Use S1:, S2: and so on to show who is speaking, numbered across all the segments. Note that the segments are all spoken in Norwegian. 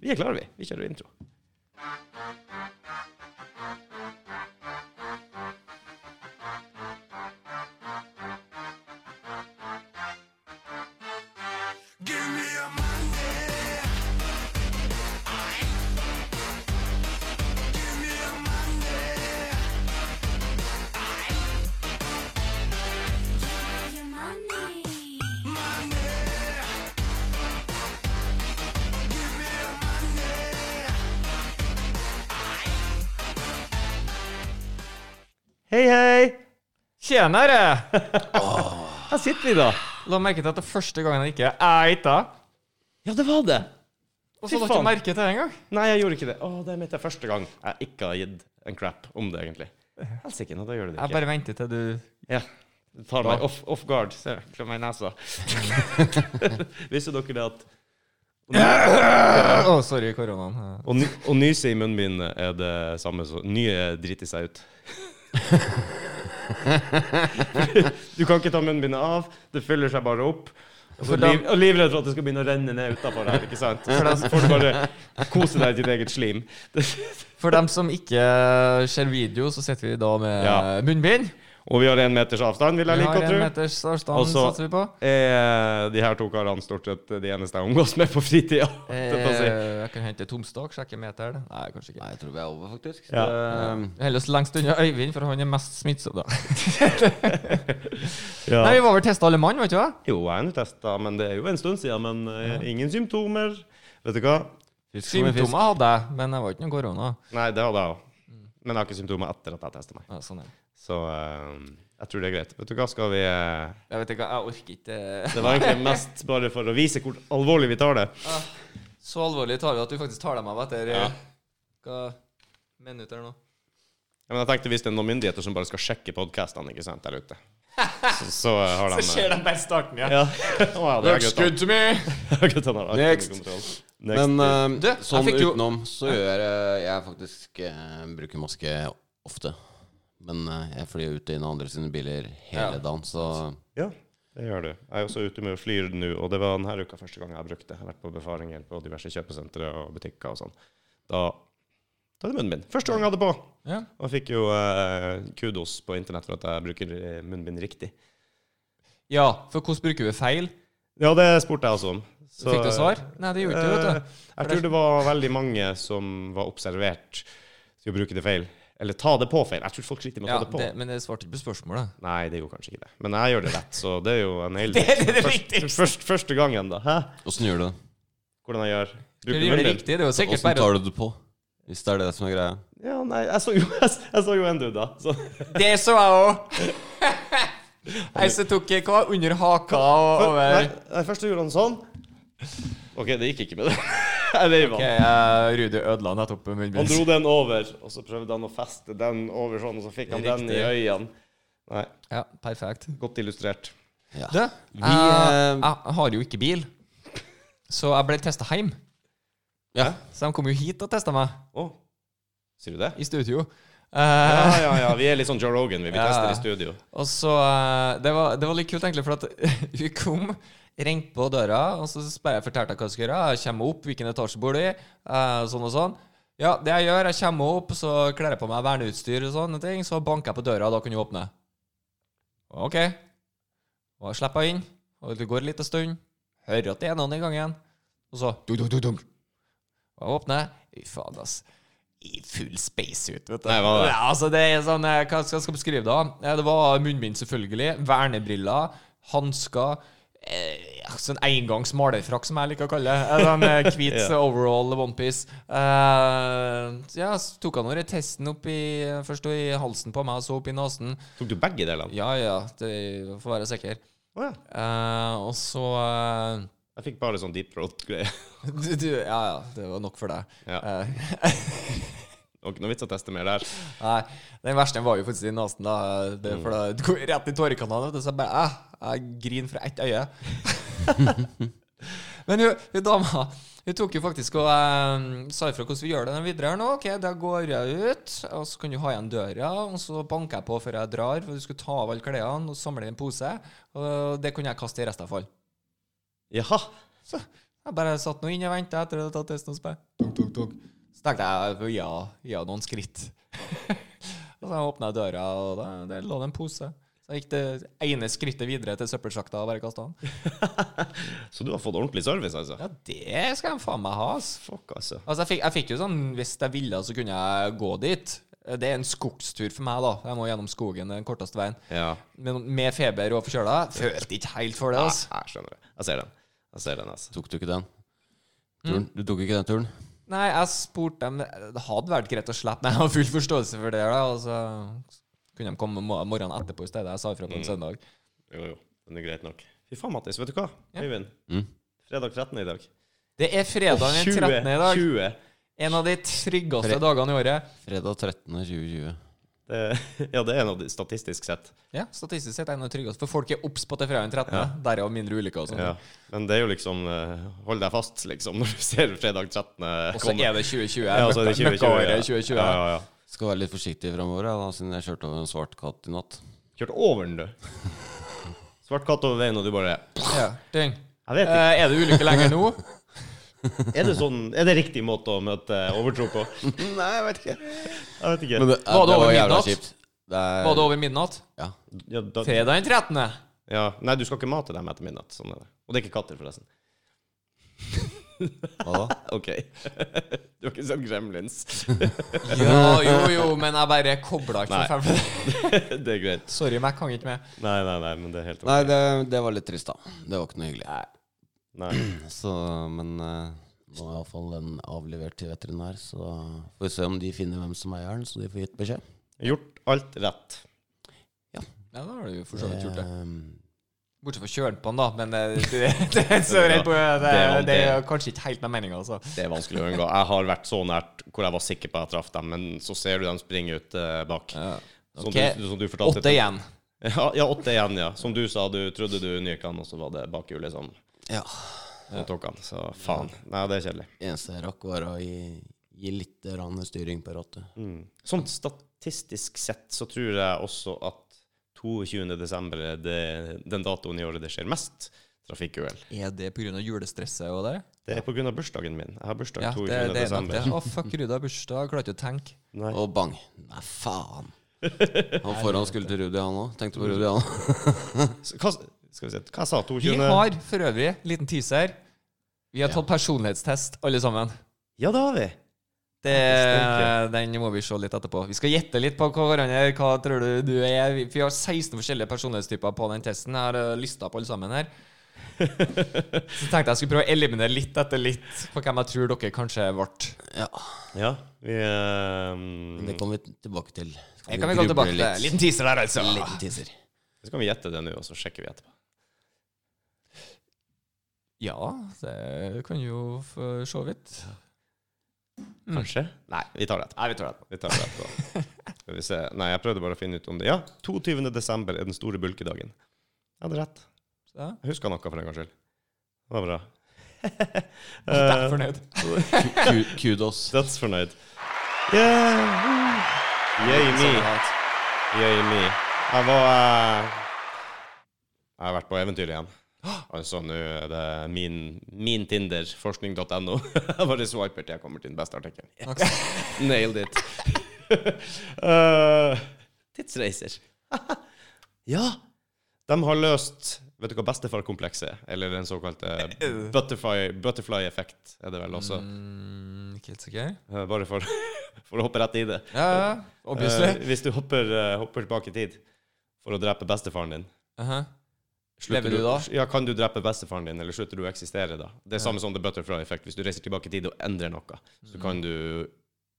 S1: Vi er klare, vi. Vi kjører intro. Hei, hei!
S2: Tjenere!
S1: Her sitter vi, da.
S2: La merke til at det første gangen jeg ikke eita.
S1: Ja, det var det.
S2: Og
S1: Fy
S2: så la
S1: faen.
S2: ikke merke til det engang.
S1: Nei, jeg gjorde ikke det. Å, det mente jeg første gang. Jeg ikke har gitt en crap om det, egentlig. Helsike, nå da gjør du det
S2: Jeg
S1: ikke.
S2: bare venter til du
S1: Ja. Du tar meg off, off guard. Se, klør meg i nesa. Visste dere det at
S2: Å, sorry, koronaen.
S1: å, ny, å nyse i munnen min er det samme som nye driter seg ut? du kan ikke ta munnbindet av. Det fyller seg bare opp. Og, så
S2: For da-
S1: liv, og livredd for at det skal begynne å renne ned utafor her. ikke sant? Så da får du bare kose deg i ditt eget slim.
S2: For dem som ikke ser video, så sitter vi da med
S1: Ja.
S2: munnbind.
S1: Og vi har én meters avstand, vil
S2: Vi
S1: jeg like
S2: har
S1: å
S2: en
S1: tro.
S2: meters avstand,
S1: Og så-
S2: satser vi på.
S1: Eh, de her to karene stort sett de eneste jeg omgås med på fritida. holdt jeg på å si.
S2: Eh, jeg kan hente tomstokk, sjekke meter. Nei, kanskje ikke.
S3: Nei, jeg tror vi er over, faktisk.
S1: Ja.
S3: Det,
S2: Heller oss lengst unna Øyvind, for han er mest smittsom, da.
S1: Ja.
S2: Nei, vi var vel testa alle mann, vet du hva?
S1: Jo, jeg er nå testa, men det er jo en stund siden. Men eh, ingen symptomer. Vet du hva?
S3: Fisk som en fisk.
S2: Symptomer hadde jeg, men jeg var ikke noe korona.
S1: Nei, det hadde jeg òg. Men jeg har ikke symptomer etter at jeg testa meg.
S2: Ja, sånn er det.
S1: Så eh, jeg tror det er greit. Vet du hva, skal vi eh,
S2: Jeg vet ikke, jeg orker ikke eh,
S1: Det var egentlig mest bare for å vise hvor alvorlig vi tar det.
S2: Så alvorlig tar vi at du faktisk tar dem av etter eh,
S1: Ja.
S2: hva minutter nå.
S1: Ja, men jeg tenkte hvis det er noen myndigheter som bare skal sjekke podkastene, ikke sant, der ute, så, så eh, har de
S2: de bare i starten,
S1: Ja. Å, ja, det er guttene.
S2: to me!
S1: Guttene har akkurat
S3: Next.
S1: kontroll. Next.
S3: Men eh,
S2: Du, jeg
S3: sånn
S2: fikk jo-
S3: utenom så gjør jeg, jeg faktisk eh, bruker maske ofte. Men eh, jeg flyr ut og inn av andre sine biler hele
S2: Ja.
S3: dagen, så
S1: Ja, det gjør du. Jeg er også ute med å flyr nå, og det var denne uka første gang jeg brukte det. Jeg har vært på befaringer på diverse kjøpesentre og butikker og sånn. Da da er det munnbind. Første gang jeg hadde på.
S2: Ja.
S1: Og jeg fikk jo eh, kudos på internett for at jeg bruker eh, munnbind riktig.
S2: ja, for hvordan bruker vi feil?
S1: Ja, det spurte jeg også om. Så,
S2: Fikk du svar? Nei, det gjorde ikke
S1: eh,
S2: vet du.
S1: Jeg tror det var veldig mange som var observert til å bruke det feil. Eller ta det på feil. Jeg tror folk sliter med å
S2: Ja,
S1: ta det på.
S2: det, men det svarte ikke på spørsmålet.
S1: Nei, det gjorde kanskje ikke det. Men jeg gjør det rett, så det er jo en hel
S2: Det er det
S1: Først-
S2: viktigste.
S1: Først, første gangen, da. Hæ?
S3: Åssen gjør du det?
S1: Hvordan jeg gjør.
S2: Du
S1: Bruker
S2: gjør det
S1: munnbind.
S2: riktig, det er jo sikkert
S3: Åssen
S2: bare
S3: tar du det på? Hvis det er det som er greia.
S1: Ja, nei, jeg så jo, jeg, så jo en dude, da. Så.
S2: Det så jeg òg! Jeg så tok jeg hva? Under haka og
S1: Nei,
S2: over
S1: nei, først så gjorde han sånn. OK, det gikk ikke med det. Jeg veiva.
S2: Ok, eh, Rudi ødela nettopp
S1: Han
S2: munnbind.
S1: dro den over, og så prøvde han å feste den over sånn, og så fikk han
S2: Det er
S1: den i øynene. Nei,
S2: Ja, perfekt.
S1: godt illustrert.
S3: Ja.
S2: Du,
S3: Vi,
S2: jeg,
S3: eh,
S2: jeg har jo ikke bil, så jeg ble testa hjem.
S3: ja.
S2: Så de kom jo hit og testa meg,
S1: Å, sier du det?
S2: i studio. Eh,
S1: Ja, ja, ja. Vi er litt sånn Joe Rogan. Vi, vi
S2: Ja.
S1: tester i studio.
S2: Og så eh, det var, det var litt kult, egentlig, for at vi kom, ringte på døra, og så spør jeg fortalte jeg hva jeg skal gjøre. Jeg kommer opp, hvilken etasje bor du i? Eh, sånn og sånn. Ja, det jeg gjør, jeg kommer opp, så kler jeg på meg verneutstyr og sånne ting, så banker jeg på døra, og da kan du åpne. OK. Og jeg slipper inn, og det går litt en stund. Hører at det er noen i gangen. Og så dunk, dunk, dunk, dunk. Og jeg åpner. Fy faen, ass. I full space ut, vet du.
S1: Nei, hva var det?
S2: Ja, altså, det er sånn eh, Hva skal jeg skal beskrive da? Eh, Det var munnbind, selvfølgelig. Vernebriller. Hansker. Eh, ja, sånn engangs malerfrakk, som jeg liker å kalle det. Eh, Sånn eh, hvit
S1: Ja.
S2: eh, overall onepiece. Eh, ja, så tok han bare testen opp i Først i halsen på meg, og så opp i nesen.
S1: Tok du begge delene?
S2: Ja, ja, det får være sikker.
S1: Å ja.
S2: Eh, og så eh,
S1: Jeg fikk bare sånn deep throat-greie.
S2: du, du, Ja, ja, det var nok for deg.
S1: Ja.
S2: Eh,
S1: Det var ikke noe vits å teste mer der.
S2: nei, den verste var jo faktisk i nesen, da. Det, er for da- det går rett i tårekanalen, vet du, så jeg bare eh, Jeg griner fra ett øye. Men hun, hun dama hun tok jo faktisk og eh, sa ifra hvordan vi gjør det videre her nå. Ok, da går jeg ut, og så kan du ha igjen døra, og så banker jeg på før jeg drar, for du skulle ta av alle klærne og samle i en pose, og det kunne jeg kaste i restavfall.
S1: Jaha.
S2: Jeg bare satt nå inne og venta etter at jeg hadde tatt testen hos meg. Tok, tok, tok. Så tenkte jeg ja, ja noen skritt. og så åpna jeg døra, og da, der lå det en pose. Så jeg gikk det ene skrittet videre til søppelsjakta og bare kasta den.
S1: Så du har fått ordentlig service, altså?
S2: Ja, det skal de faen meg ha, ass.
S1: Fuck, altså.
S2: Altså, jeg fikk, jeg fikk jo sånn Hvis jeg ville, så kunne jeg gå dit. Det er en skogstur for meg, da. Jeg må gjennom skogen det er den korteste veien.
S1: Ja.
S2: Men med feber og forkjøla følte ikke helt for det,
S1: Ja,
S2: altså.
S1: jeg skjønner det. Jeg ser den. Jeg ser den, altså.
S3: Tok du ikke den? Turen? Du tok ikke den turen?
S2: Nei, jeg spurte dem Det hadde vært greit å slippe, men jeg har full forståelse for det. da Og så kunne de komme mor- morgenen etterpå i stedet. Jeg sa ifra på en søndag.
S1: Jo, jo. Den er greit nok. Fy faen, Mattis. Vet du hva?
S2: Ja.
S1: Øyvind.
S3: Mm.
S1: Fredag 13. i dag.
S2: Det er fredag den 13. i dag.
S1: 20.
S2: En av de tryggeste
S3: Fre-
S2: dagene i året.
S3: Fredag 13.2020.
S1: Det, ja, det er en av de statistisk sett.
S2: Ja, Statistisk sett er en av de tryggeste, for folk er obs på at det er fredag den 13.
S1: Ja.
S2: Derav mindre ulykker og sånn.
S1: Ja. Men det er jo liksom eh, Hold deg fast, liksom, når du ser fredag 13.
S2: Og så er det 2020.
S1: ja, og så er det 2020. ja.
S2: Møkkaåret 2020.
S1: Ja, ja, ja.
S3: altså. Skal være litt forsiktig framover, da, siden jeg kjørte over en svart katt i natt.
S1: Kjørte over den, du. Svart katt over veien, og du bare
S2: Ja, ding.
S1: Jeg vet
S2: Eh, er det ulykke lenger nå?
S1: ikke. Er det, sånn, er det riktig måte å møte overtro på?
S3: Nei, jeg vet ikke.
S1: Jeg vet ikke.
S3: Men det,
S2: Var det
S3: det
S2: over
S3: var jævla
S2: midnatt?
S3: kjipt. Det er,
S2: Var det over midnatt?
S3: Ja.
S1: ja, da,
S2: Fredag den 13.
S1: ja. Nei, du skal ikke mate dem etter midnatt. Sånn er det. Og det er ikke katter, forresten.
S3: Hva da?
S1: OK. Du har ikke sett Gremlins.
S2: Ja, jo, jo, men jeg bare kobla ikke
S1: Nei.
S2: for fem.
S1: Det er greit.
S2: Sorry, men jeg kan ikke med.
S1: Nei, nei, nei, men det er helt ok.
S3: Nei, det, det var litt trist, da. Det var ikke noe hyggelig.
S1: Nei.
S3: Så, men eh, nå er iallfall den avlevert til veterinær, så får vi se om de finner hvem som eier den, så de får gitt beskjed.
S1: Gjort alt rett.
S2: Ja, da har du jo for så vidt gjort det.
S3: Eh,
S2: Bortsett fra kjøren på den, da. Men eh, det, det, er så redd på, det,
S1: Det var-
S2: det er kanskje ikke helt med meninga, altså.
S1: Det er vanskelig å unngå. Jeg har vært så nært hvor jeg var sikker på at jeg traff dem, men så ser du dem springe ut eh, bak. Som,
S2: Ok.
S1: du, som du fortalte
S2: Åtte igjen.
S1: Ja, ja, åtte igjen, ja. Som du sa, du trodde du nyka den, og så var det bakhjulet som
S3: Ja.
S1: som tok han. Så faen. Nei, det er kjedelig.
S3: Eneste jeg rakk, var å gi, gi litt rann styring på rattet.
S2: Mm.
S1: Sånn statistisk sett så tror jeg også at 22. desember er det, den datoen i året det skjer mest trafikkuhell.
S2: Er det pga. julestresset og det?
S1: Det er pga. bursdagen min. Jeg har bursdag
S2: Ja, det,
S1: 22.
S2: det er nok det.
S1: desember.
S2: Å, fuck, Ruda har bursdag. Klarer ikke å tenke.
S1: Nei.
S3: Og bang! Nei, faen! Han foran skulle til Rudi, han òg.
S2: Mm.
S3: Tenkte på Rudi, han òg.
S1: Så Hva, skal vi se, hva sa
S2: Vi
S1: 22.?
S2: har for øvrig, liten teaser, vi har tatt personlighetstest alle sammen.
S1: Ja, det har vi.
S2: Det,
S1: Ja,
S2: den må vi se litt etterpå. Vi skal gjette litt på hva hverandre Hva tror du du er? Vi- Vi har 16 forskjellige personlighetstyper på den testen. Jeg har eh, lista opp alle sammen her. Så tenkte jeg skulle prøve å eliminere litt etter litt på hvem jeg tror dere kanskje ble.
S3: Ja,
S1: Ja, vi eh, ehm,
S3: det kommer vi tilbake til. Skal
S2: Det Mm. kan vi gå
S3: gruble
S2: tilbake til. Liten teaser der, altså.
S3: Liten teaser.
S1: Så kan vi gjette det nå, og så sjekker vi etterpå.
S2: Ja, det kan jo for så vidt.
S1: Kanskje? Nei, vi tar det etterpå.
S2: Nei, vi tar det.
S1: Vi tar det etterpå. Skal vi se. Nei, jeg prøvde bare å finne ut om det. Ja, 22. desember er den store bulkedagen. Jeg hadde rett.
S2: Så,
S1: Jeg husker noe for en gangs skyld. Det var bra. Eh,
S2: da er jeg fornøyd.
S3: Ku- Kudos.
S1: That's fornøyd. Yeah. Yay me. Yay me. Jeg var eh, Jeg har vært på eventyr igjen. Altså, nå er det min, min Tinder, forskning.no. Jeg bare swiper til jeg kommer til den beste artikkelen. Nailed it. Eh, tidsreiser. ja. De har løst Vet du hva bestefarkomplekset er? Eller den såkalte butterfly, butterfly effect, er det vel også.
S2: Mm, ikke helt sikker.
S1: Eh, Bare for, for å hoppe rett i det.
S2: Ja, ja.
S1: Eh,
S2: Obviously.
S1: hvis du hopper, eh, hopper tilbake i tid for å drepe bestefaren din
S2: Aha.
S1: slutter
S2: Lever du da?
S1: Ja, Kan du drepe bestefaren din, eller slutter du å eksistere da? Det er samme som the butterfly effect. Hvis du reiser tilbake i tid og endrer noe,
S2: Mm.
S1: så kan du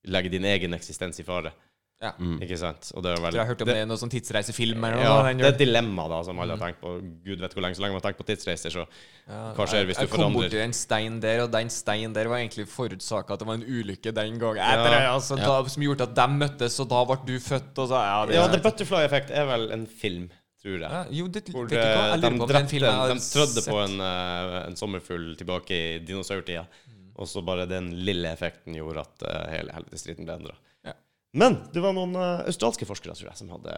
S1: legge din egen eksistens i fare.
S2: Ja.
S1: Ikke sant? Og det er
S2: Tror jeg har
S1: veldig
S2: hørt om det i noen sånn tidsreisefilm eller noe.
S1: ja,
S2: da, den
S1: det er
S2: gjør.
S1: et dilemma da, som
S2: Mm.
S1: alle har tenkt på. Gud vet hvor lenge. Så lenge man har tenkt på tidsreiser, så hva skjer hvis
S2: jeg
S1: du
S2: kom borti
S1: forandrer
S2: en stein der, og den steinen der var egentlig forutsaka at det var en ulykke den gangen. Etter, det,
S1: Ja.
S2: altså, da, som gjorde at de møttes, og da ble du født, og så Ja, det,
S1: Ja, The Butterfly Effect er vel en film, tror jeg.
S2: ja, jo, det,
S1: Hvor
S2: vet
S1: de,
S2: ikke hva, jeg
S1: de,
S2: lurer på om det er en
S1: drepte,
S2: film jeg har
S1: de trødde
S2: sett.
S1: på en, eh, en sommerfugl tilbake i dinosaurtida.
S2: Mm.
S1: Og så bare den lille effekten gjorde at eh, hele helvetesstriden ble endra.
S2: Ja.
S1: Men det var noen eh, australske forskere tror jeg, som hadde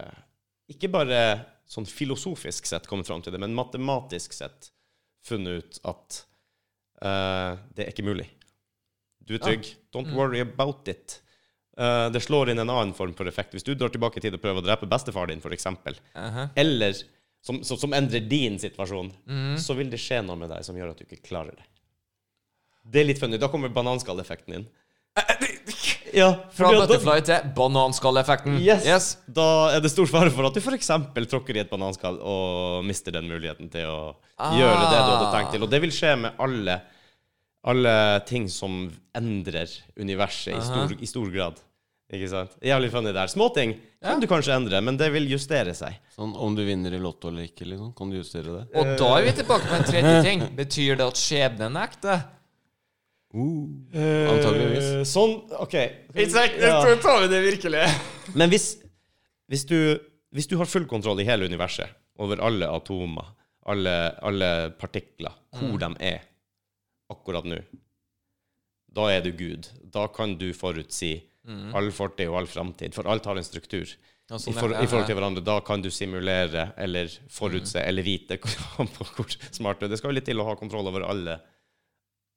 S1: ikke bare sånn filosofisk sett kommet fram til det, men matematisk sett funnet ut at Eh, det er ikke mulig. Du er trygg.
S2: Mm.
S1: Don't worry about it. Eh, det slår inn en annen form for effekt. Hvis du drar tilbake i tid og prøver å drepe bestefaren din, f.eks.,
S2: Aha.
S1: eller som, som, som endrer din situasjon,
S2: Mm.
S1: så vil det skje noe med deg som gjør at du ikke klarer det. Det er litt funny. Da kommer bananskalleffekten inn. Ja,
S2: Eh, Fra
S1: fordi at da-
S2: butterfly til bananskalleffekten.
S1: Yes.
S2: yes.
S1: Da er det stor fare for at du f.eks. tråkker i et bananskall og mister den muligheten til å
S2: Ah.
S1: gjøre det du hadde tenkt til. Og det vil skje med alle, alle ting som endrer universet i stor, i stor grad. Ikke sant? Jævlig funny der. Småting kan du kanskje endre, men det vil justere seg.
S3: Sånn, om du vinner i lotto eller ikke, liksom, kan du justere det?
S2: Og da er vi tilbake på en tredje ting. Betyr det at skjebnen er ekte?
S3: Antageligvis.
S1: Eh, sånn, OK. Ja.
S2: tar vi det virkelig.
S1: Men hvis, hvis, du, hvis du har full kontroll i hele universet, over alle atomer, alle, alle partikler, hvor
S2: Mm.
S1: de er akkurat nå, da er du Gud. Da kan du forutsi
S2: Mm.
S1: all fortid og all framtid, for alt har en struktur.
S2: Ja,
S1: I,
S2: sånn,
S1: for,
S2: ja,
S1: I forhold til
S2: ja. Mm.
S1: hverandre. Da kan du simulere eller forutse eller vite hvor, hvor smart du er. Det skal jo litt til å ha kontroll over alle,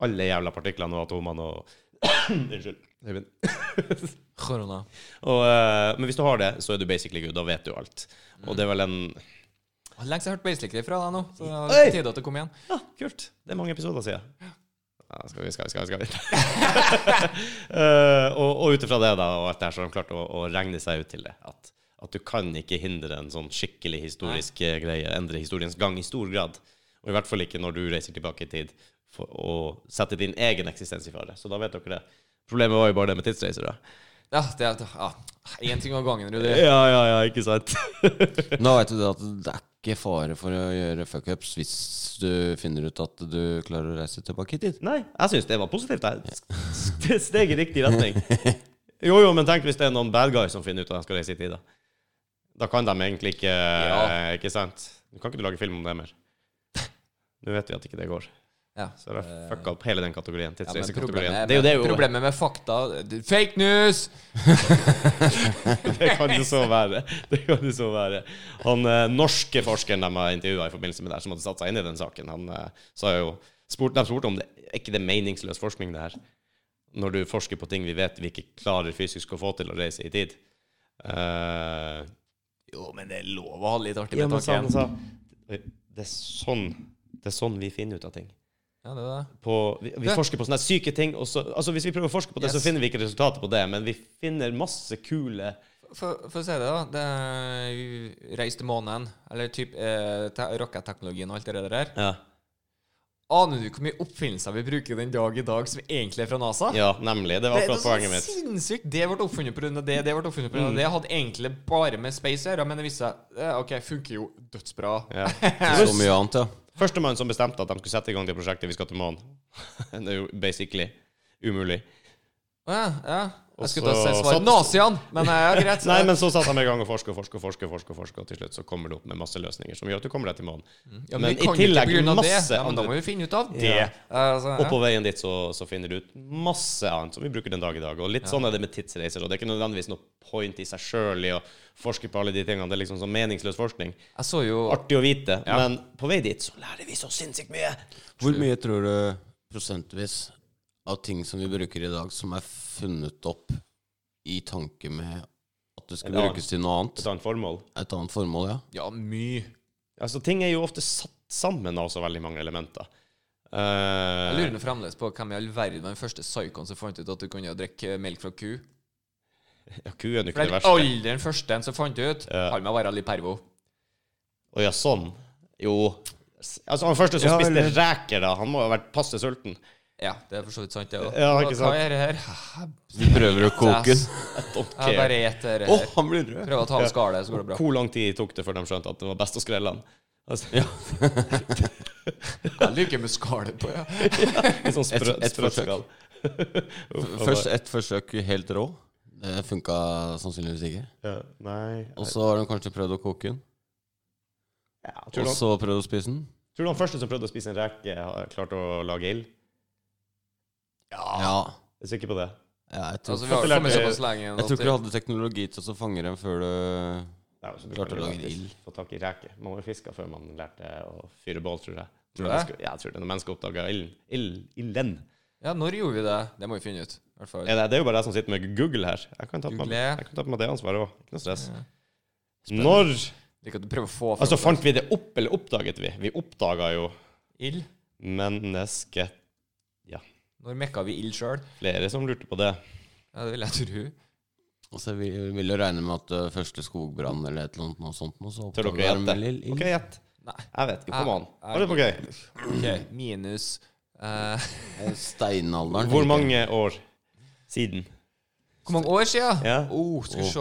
S1: alle jævla partiklene og atomene og Unnskyld. Øyvind.
S2: Korona.
S1: Og, eh, men hvis du har det, så er du basically Gud. Da vet du alt. Og det er vel en
S2: Å, Lenge siden jeg har hørt Basic Life fra deg nå. Så det var
S1: Oi!
S2: på tide at det kom igjen.
S1: Ja, kult. Det er mange episoder siden. Ja, skal vi, skal vi, skal vi. Skal vi. Eh, og og ut ifra det da, og alt det her, så har de klart å, å regne seg ut til det. At, at du kan ikke hindre en sånn skikkelig historisk eh, greie, endre historiens gang i stor grad. Og i hvert fall ikke når du reiser tilbake i tid for å sette din egen eksistens i fare. Så da vet dere det. Problemet var jo bare det med tidsreiser, da.
S2: Ja, det er ja. En ting av gangen, Rudi.
S1: Ja, ja, ja, ikke sant?
S3: Da vet du det at det er ikke fare for å gjøre fuckups hvis du finner ut at du klarer å reise tilbake i tid.
S1: Nei, jeg syns det var positivt. Jeg. S- Det er steg i riktig retning. Jo, jo, men tenk hvis det er noen bad guys som finner ut at de skal reise i tid, da. Da kan de egentlig ikke
S2: Ja.
S1: Ikke sant? Du kan ikke du lage film om det mer. Nå vet vi at ikke det går.
S2: Ja.
S1: Så det har fucka opp hele den kategorien.
S2: Eh. Ja, men
S1: Tidsreisekategorien.
S2: problemet,
S1: det er jo det jo
S2: problemet med fakta Fake news!
S1: Det kan jo så være. Det kan jo så være. Han eh, norske forskeren de har intervjua i forbindelse med det her, som hadde satt seg inn i den saken, han eh, sa jo spurt, De spurte om det er ikke det er meningsløs forskning, det her. Når du forsker på ting vi vet vi ikke klarer fysisk å få til å reise i tid. Eh,
S2: Jo, men det er lov å ha litt artig
S1: ja,
S2: med
S1: men sa,
S2: tanken.
S1: han sa det er, sånn, det er sånn vi finner ut av ting.
S2: Ja, det er det.
S1: På, vi vi
S2: Det-
S1: forsker på sånne her syke ting. Og så, altså hvis vi prøver å forske på det,
S2: Yes.
S1: så finner vi ikke resultatet på det. Men vi finner masse kule
S2: For, for å si det, da. Det er vi Reis til månen, eller typ eh, te- raketteknologien og alt det der.
S1: ja.
S2: Aner du hvor mye oppfinnelser vi bruker den dag i dag som egentlig er fra NASA?
S1: ja, nemlig. Det var
S2: Det er
S1: akkurat
S2: så
S1: poenget mitt. Mm.
S2: sinnssykt. Det ble oppfunnet pga. det, det ble oppfunnet pga. av det. Hadde egentlig bare med space å gjøre, men det viste seg eh, OK, funker jo dødsbra.
S1: Ja.
S3: Så mye annet, ja.
S1: Førstemann som bestemte at de skulle sette i gang det prosjektet vi skal til månen. Det er jo basically umulig.
S2: Ja, ja. Jeg
S1: Og
S2: skulle ta
S1: så
S2: svar
S1: satt-
S2: Nazian, men ja, greit.
S1: Nei, men så satte de i gang og forske og forske og forske, og forske, og forske, og til slutt så kommer du opp med masse løsninger som gjør at du kommer deg til månen.
S3: Mm.
S2: ja,
S1: men
S2: vi
S1: i
S2: kan jo ikke
S1: tillegg
S2: på grunn av det.
S1: masse
S2: ja, men Da
S1: andre-
S2: må vi finne ut av det.
S1: Ja.
S2: Altså,
S1: Og
S2: ja.
S1: på veien dit så, så finner du ut masse annet som vi bruker den dag i dag. Og litt sånn er det med tidsreiser. Og det er ikke nødvendigvis noe point i seg sjøl i å forske på alle de tingene. Det er liksom sånn meningsløs forskning.
S2: Jeg så jo
S1: Artig å vite, men på vei dit så lærer vi så sinnssykt mye.
S3: Hvor mye tror du prosentvis av ting som vi bruker i dag, som er funnet opp i tanke med at det skal
S1: Et annet.
S3: brukes til noe annet?
S1: Et annet formål.
S3: Et annet formål, ja.
S2: Ja, mye.
S1: Altså, ting er jo ofte satt sammen av så veldig mange elementer.
S2: Jeg
S1: Uh,
S2: lurer nå fremdeles på hvem i all verden var den første psykoen som fant ut at du kunne drikke melk fra ku.
S1: ja, ku er jo
S2: For
S1: ikke
S2: det
S1: det
S2: er
S1: verste.
S2: aldri den første en som fant ut.
S1: Ja.
S2: Han må være litt pervo.
S1: Å ja, sånn. Jo. Altså, han første som
S3: Ja,
S1: spiste
S3: eller-
S1: reker, da, han må ha vært passe sulten.
S2: Ja, det er for så vidt sant, det òg.
S1: Ja, ikke sant.
S2: Hva er det her?
S3: Vi prøver å koke den.
S2: Jeg
S1: Okay.
S2: bare et det
S3: Å,
S2: her.
S3: han blir rød!
S2: Prøver å ta av skallet, så går det bra.
S1: Hvor lang tid tok det før de skjønte at det var best å skrelle han? Altså,
S2: Jeg liker med skallet på, ja.
S1: litt sånn sprø,
S3: Et- et
S1: sprøtt
S3: forsøk.
S1: skall. Uff, han
S3: Først
S1: var-
S3: et forsøk helt rå. Det funka sannsynligvis ikke.
S1: ja, Nei
S3: Og så har de kanskje prøvd å koke den.
S1: ja, tror,
S3: Og
S1: du han,
S3: så prøvd å spise den.
S1: tror du han første som prøvde å spise en reke, har- klarte å lage ild?
S3: Ja.
S1: Jeg er sikker på det.
S3: ja jeg,
S2: Altså,
S3: tror,
S2: vi har jo kommet såpass lenge.
S3: jeg tror ikke du hadde teknologi til å fange dem før du
S1: Det er jo så
S3: Klarte å
S1: brukelig
S3: lage en
S1: faktisk.
S3: ild.
S1: Få tak i reker. Man var jo fiska før man lærte å fyre bål, tror jeg.
S2: Tror du
S1: Når
S2: det?
S1: mennesker- Ja, jeg tror det. Når mennesker oppdaga ilden. Ild, ilden.
S2: Ja, når gjorde vi det? Det må vi finne ut. I hvert fall.
S1: Er det, det er jo bare jeg som sitter med Google her. Jeg kan ta på meg,
S2: Google.
S1: jeg kan ta på meg det ansvaret òg. Ikke noe stress. Når
S2: Liker at du prøver å få fram
S1: Altså, fant vi det opp, eller oppdaget vi? Vi oppdaga jo
S2: ild.
S1: mennesket
S2: Når mekka vi ild sjøl?
S1: Flere som lurte på det.
S2: Ja, det vil jeg tro.
S3: Altså, vi vil jo regne med at eh, første skogbrann eller et eller annet noe sånt nå, så
S1: Tør dere
S3: oppdager de
S1: gjette?
S3: vel ild- ild.
S1: OK, gjett.
S2: Nei.
S1: Jeg vet ikke. Kom an.
S2: Jeg-
S1: Hold det på gøy.
S2: Ok, minus eh,
S3: Eh, Steinalderen.
S1: Hvor
S3: tenker jeg.
S1: mange år siden?
S2: Hvor mange år sia?
S1: Ja.
S2: Oh, skal vi se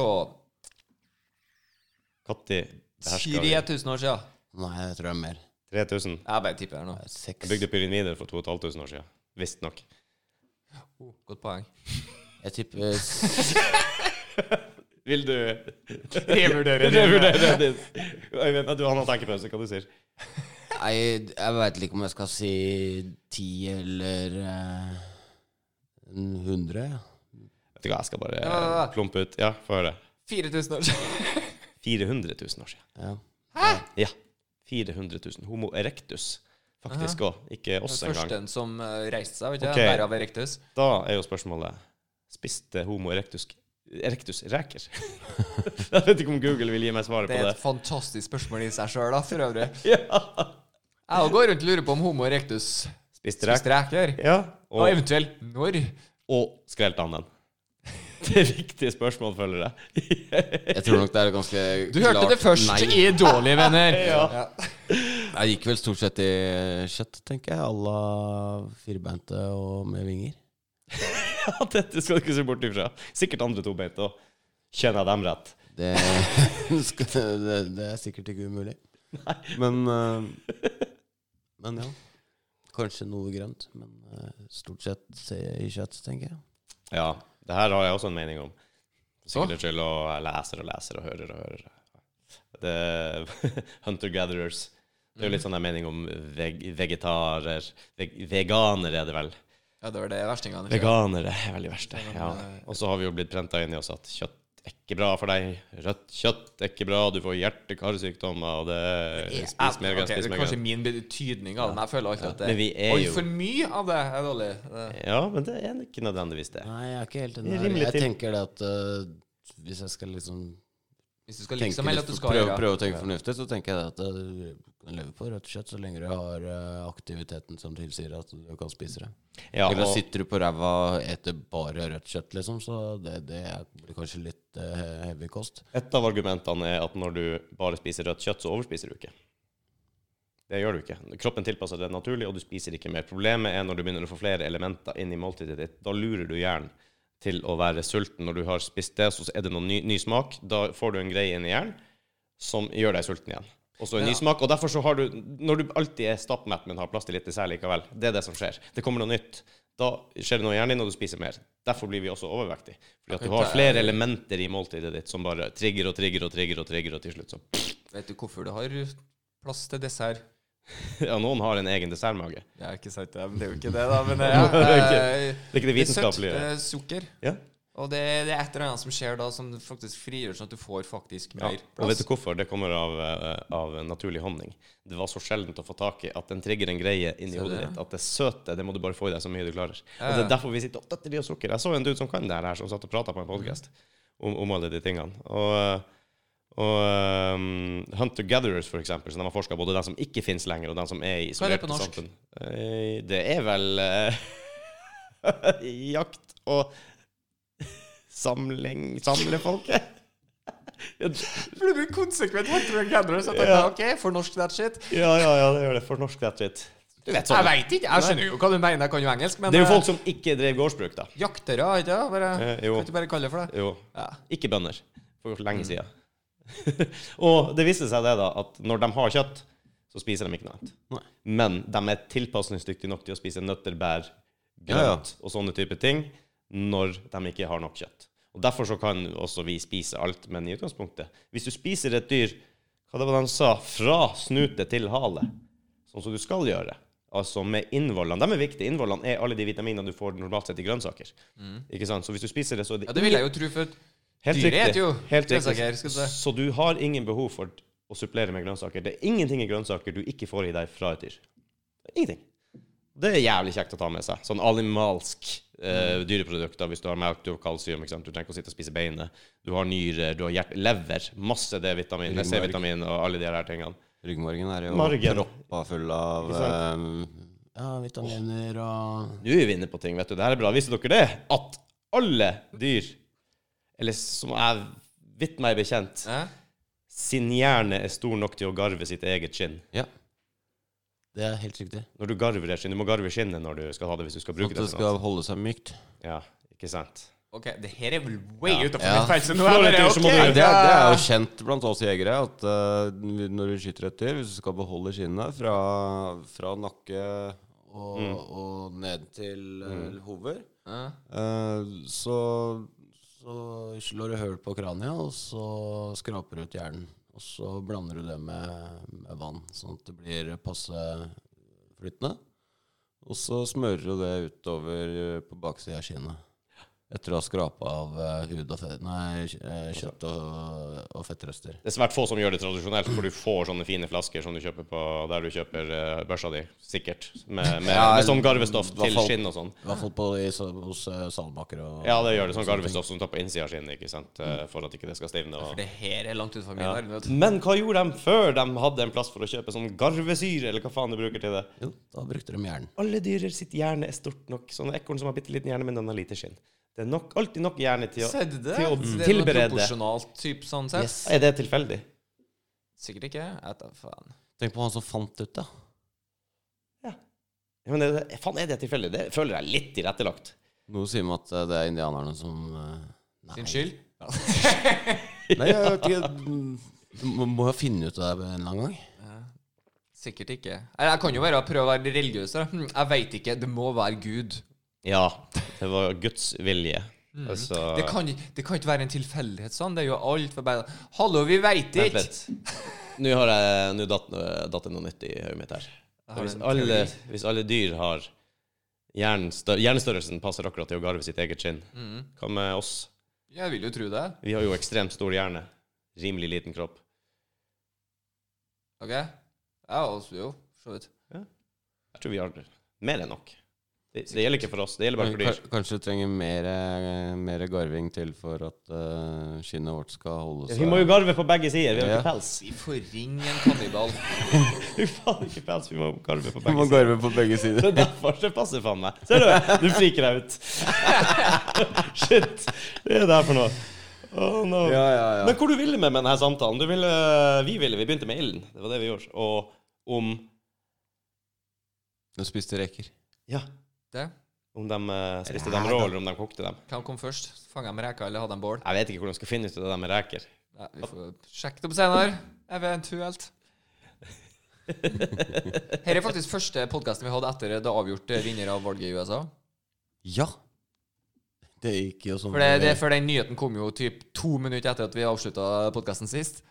S1: Når beherska vi
S2: 3000 år sia.
S3: Nei, jeg tror det er mer.
S1: 3000?
S2: Jeg bare tipper her nå.
S3: Det er Seks.
S1: Jeg bygde pyramider for 2500 år siden. Visstnok.
S2: Oh, godt poeng.
S3: Jeg tipper eh, s-
S1: Vil du
S2: Revurdere
S1: revurdere det? Jeg vet at du han har tenkepause, hva du sier.
S3: Nei, jeg veit ikke om jeg skal si ti eller eh, en hundre. ja.
S1: Vet du hva, jeg skal bare
S2: Ja, ja, ja.
S1: plumpe ut. Ja, få høre.
S2: 4000 år sia.
S1: 400 000 år siden.
S3: Ja.
S1: Ja. 400 000. Homo erectus. Faktisk òg. Ikke oss engang.
S2: Første som eh, reiste seg, vet du.
S1: Ok.
S2: Okay. Derav Erectus.
S1: Da er jo spørsmålet Spiste Homo erectus erectus reker? jeg vet ikke om Google vil gi meg svaret
S2: Det
S1: på
S2: er
S1: det.
S2: et fantastisk spørsmål i seg sjøl, da, for øvrig.
S1: Ja.
S2: Jeg også går rundt og lurer på om homo erectus
S1: Spiste reker.
S2: spiste reker.
S1: Ja.
S2: Og
S1: Og,
S2: eventuelt når.
S1: og skrelte han den? Det er viktige spørsmål, føler jeg.
S3: Jeg tror nok det er ganske
S2: Du hørte det først
S3: nei.
S2: i Dårlige venner.
S1: Ja.
S3: Jeg gikk vel stort sett i kjøtt, tenker jeg. À la firbeinte og med vinger.
S1: Ja, dette skal du ikke se bort ifra. Sikkert andre to beint òg. Kjenner jeg dem rett?
S3: Det, skal- det, det er sikkert ikke umulig. Men eh, Men ja. Kanskje noe grønt, men eh, stort sett se i kjøtt, tenker jeg.
S1: Ja. Det her har jeg også en mening om. Sikkert til å jeg leser og leser og hører og hører. Det, hunter gatherers. Det er jo litt sånn en mening om veg vegetarer veg Veganere er det vel.
S2: Ja, det var det verstingene gjorde.
S1: Veganere er vel de verste. Ja. Og så har vi jo blitt prenta inn i oss at kjøtt er ikke bra for deg. Rødt kjøtt er ikke bra. Du får hjerte-karsykdommer, og det Spis mer
S2: Ok,
S1: grønt, spis
S2: det er
S1: mer
S2: kanskje
S1: grønt.
S2: min betydning av det, men jeg føler alltid at
S1: Men vi
S2: det
S1: er
S2: Oi,
S1: jo-
S2: for mye av det er dårlig. Det-
S1: Ja, men det er ikke nødvendigvis det.
S3: Nei, jeg er ikke helt
S1: Det er
S3: enig.
S1: rimelig
S3: Jeg
S1: til.
S3: tenker det at eh, hvis jeg skal liksom
S2: Hvis du skal
S3: tenke
S2: liksom, eller at
S3: litt-
S2: du skal
S3: prøve,
S2: gjøre
S3: prøve å tenke fornuftig, så tenker jeg det at eh, du kan leve på rødt kjøtt så lenge du har eh, aktiviteten som tilsier at du kan spise det.
S1: Ja,
S3: Eller
S1: og-
S3: sitter du på ræva og eter bare rødt kjøtt, liksom, så det, det er- blir kanskje litt eh, heavy kost.
S1: Et av argumentene er at når du bare spiser rødt kjøtt, så overspiser du ikke. Det gjør du ikke. Kroppen tilpasser det naturlig, og du spiser ikke mer. Problemet er når du begynner å få flere elementer inn i måltidet ditt. Da lurer du hjernen til å være sulten. Når du har spist det, så er det noen ny, ny smak. Da får du en greie inn i hjernen som gjør deg sulten igjen. Og så en ny smak. Og derfor så har du Når du alltid er stappmett, men har plass til litt dessert likevel, det er det som skjer. Det kommer noe nytt. Da skjer det noe i hjernen din, og du spiser mer. Derfor blir vi også overvektige. Fordi at du har flere elementer i måltidet ditt som bare trigger og trigger og trigger, og trigger, og til slutt så
S2: Vet du hvorfor du har plass til dessert?
S1: Ja, noen har en egen dessertmage.
S2: Ja, ikke sant, det, men det er jo ikke det, da. Men det,
S1: Det er jo
S2: ja, eh,
S1: Det er ikke det
S2: det er søtt.
S1: vitenskapelige.
S2: Det er sukker.
S1: Ja.
S2: Og det, det er et eller annet som skjer da, som faktisk frigjør sånn at du får faktisk
S1: Ja.
S2: mer
S1: Og vet
S2: plass.
S1: du hvorfor? Det kommer av, eh, av naturlig honning. Det var så sjeldent å få tak i at den trigger en greie inni
S2: Ser du
S1: hodet
S2: det?
S1: ditt. At det søte, det må du bare få i deg så mye du klarer.
S2: Ja,
S1: Og det
S2: ja.
S1: er derfor vi sitter opptatt i og sukker. Jeg så en dude som kan det her, som satt og prata på en podkast om, om alle de tingene. Og, eh, og eh, Hunter Gatherers, for eksempel, som de har forska både den som ikke fins lenger, og den som er i
S2: Hva er det
S1: isolerte
S2: på norsk?
S1: samfunn. Eh, Det er vel eh, jakt og samling Samlefolket.
S2: For du blir konsekvent Hunter and Gatherers.
S1: jeg Ja.
S2: OK, fornorsk that shit.
S1: Ja, ja, ja, det gjør det. For norsk rett og slett. Du vet
S2: Jeg
S1: sånn.
S2: veit ikke. Jeg skjønner jo hva du mener. Jeg kan jo engelsk, men
S1: Det er jo
S2: eh,
S1: folk som ikke drev gårdsbruk, da.
S2: Jaktere, ikke sant? Bare-
S1: Eh,
S2: Kan
S1: jo.
S2: ikke bare kalle det for det.
S1: Jo.
S2: Ja.
S1: Ikke bønder. For lenge
S3: Mm.
S1: siden. og det viste seg det, da, at når de har kjøtt, så spiser de ikke noe annet.
S3: Nei.
S1: Men de er tilpasningsdyktige nok til å spise nøtter, bær, grønt
S3: Ja, ja.
S1: og sånne type ting når de ikke har nok kjøtt. Og Derfor så kan også vi spise alt, men i utgangspunktet Hvis du spiser et dyr Hva det var de sa? Fra snute til hale. Sånn som du skal gjøre. Altså med innvollene. De er viktige. Innvollene
S3: Mm.
S1: er alle de vitaminene du får normalt sett i grønnsaker. Ikke sant? Så hvis du spiser det, så er det
S2: ja, det vil jeg jo tro, for at
S1: Helt
S2: Dyret
S1: riktig.
S2: heter jo
S1: Helt riktig.
S2: grønnsaker, skal du si.
S1: Så du har ingen behov for å supplere med grønnsaker. Det er ingenting i grønnsaker du ikke får i deg fra et dyr. Ingenting. Det er jævlig kjekt å ta med seg. Sånn animalsk eh, dyreprodukter. Hvis du har melk, du har kalsium, ikke sant? du trenger ikke å sitte og spise beinet. Du har nyrer, du har hjerte, lever, masse D-vitamin,
S3: Ryggmarg.
S1: C-vitamin og alle de her tingene.
S3: Ryggmargen er jo
S1: Margen.
S3: proppa full av
S1: Ikke
S3: eh, ja, vitaminer og
S1: Nå er vi inne på ting, vet du. Det her er bra. Visste dere det? At alle dyr, eller som jeg vidt meg bekjent,
S2: Hæ?
S1: sin hjerne er stor nok til å garve sitt eget skinn.
S3: Ja. Det er helt riktig.
S1: Når du garver et skinn, du må garve skinnet når du skal ha det, hvis du skal
S3: At
S1: bruke
S3: det
S1: det. til noe.
S3: skal holde seg mykt.
S1: Ja, ikke sant?
S2: Ok, det her er vel way
S1: Ja.
S2: utenfor
S3: Ja.
S2: min felt, så nå
S1: Slår
S2: er det
S1: et dyr, så må
S3: Nei,
S1: du-
S2: ok.
S3: det, er, det er jo kjent blant oss jegere at eh, når vi skyter et dyr, hvis du skal beholde skinnet fra, fra nakke og, og ned til eh, hover,
S2: Ja.
S3: eh, så, så slår du høl på kraniet, og så skraper du ut hjernen. Og så blander du det med, med vann, sånn at det blir passe flytende. Og så smører du det utover eh, på baksida av kinnet. Etter å ha skrapa av eh, hud og fett, nei, eh, kjøtt og, og fettrester.
S1: Det er svært få som gjør det tradisjonelt, hvor du får sånne fine flasker som du kjøper på der du kjøper eh, børsa di, sikkert. Med, med,
S3: Ja,
S1: med sånn garvestoff
S3: hva
S1: til
S3: faen?
S1: skinn og sånn.
S3: I hvert fall på, i, så- hos eh, salmaker og
S1: Ja, det gjør det. Sånn garvestoff som du tar på innsida av skinnet, ikke sant. eh,
S3: Mm.
S1: For at ikke det skal stivne. Og,
S2: For det her er langt utenfor min
S1: ja.
S2: verden, vet du.
S1: Men hva gjorde de før de hadde en plass for å kjøpe sånn garvesyre, eller hva faen du bruker til det?
S3: Jo, da brukte de hjernen.
S1: Alle dyrer sitt hjerne er stort nok. Sånn ekorn som har bitte liten hjerne, men den har lite skinn. Det er nok, alltid nok hjerne til å
S2: Ser du det?
S1: til å
S2: Det er noe
S1: tilberede.
S2: proporsjonalt typ sånn sett.
S3: Yes.
S1: Er det tilfeldig?
S2: Sikkert ikke. Jeg vet da faen.
S3: Tenk på han som fant ut det.
S1: Ja, Men er det, faen, er det tilfeldig? Det føler jeg er litt tilrettelagt.
S3: Noe sier meg at eh, det er indianerne som eh, Nei.
S2: Sin skyld?
S3: Nei, jeg vet ikke. Du må- må jo finne ut av det en eller annen gang.
S2: Sikkert ikke. Eller jeg kan jo bare prøve å være religiøs. da. Hm, Jeg veit ikke. Det må være Gud.
S1: Ja. Det var Guds vilje.
S2: Mm.
S1: Altså
S2: Det kan, det kan ikke være en tilfeldighet sånn. Det er jo alt for bare Hallo, vi veit
S1: Vent
S2: ikke!
S1: litt. Nå har jeg Nå datt, datt det noe nytt i hodet mitt her.
S2: Jeg har
S1: Hvis
S2: en teori.
S1: alle, hvis alle dyr har hjernestør, Hjernestørrelsen passer akkurat til å garve sitt eget skinn.
S2: Mm.
S1: Hva med oss?
S2: Jeg vil jo tro det.
S1: Vi har jo ekstremt stor hjerne. Rimelig liten kropp.
S2: OK? Ja, også, jo, for så vidt.
S1: Jeg tror vi har mer enn nok. Det, det gjelder ikke for oss. Det gjelder bare for dyr.
S3: Kanskje, kanskje du trenger mer, eh, mer garving til for at eh, skinnet vårt skal holde seg
S1: Vi må jo garve på begge sider. Vi har
S3: Ja.
S1: ikke pels.
S2: Vi får ringe en kannibal.
S1: Vi har ikke pels, vi må garve på
S3: Vi
S1: begge
S3: må
S1: sider.
S3: garve på begge sider.
S1: Det er derfor det passer faen meg. Ser du? Du friker deg ut. Shit. Det er det her for noe. Oh, no.
S3: Ja, ja, ja.
S1: Men hvor du ville med med denne samtalen? Du ville, vi ville, vi begynte med ilden. Det var det vi gjorde. Og om
S3: Du spiste reker.
S1: Ja,
S2: Det.
S1: om de eh, spiste dem rå, eller om de kokte dem.
S2: Hvem kom først? Fanga med reka, eller hadde en bål?
S1: Jeg vet ikke hvordan jeg skal finne ut av det der med reker.
S2: Ja, vi får sjekke det opp senere. Eventuelt. Her er faktisk første podkasten vi hadde etter det avgjort eh, vinner av valget i USA.
S3: Ja. Det gikk jo som
S2: For, det, det, for den nyheten kom jo typ to minutter etter at vi avslutta podkasten sist.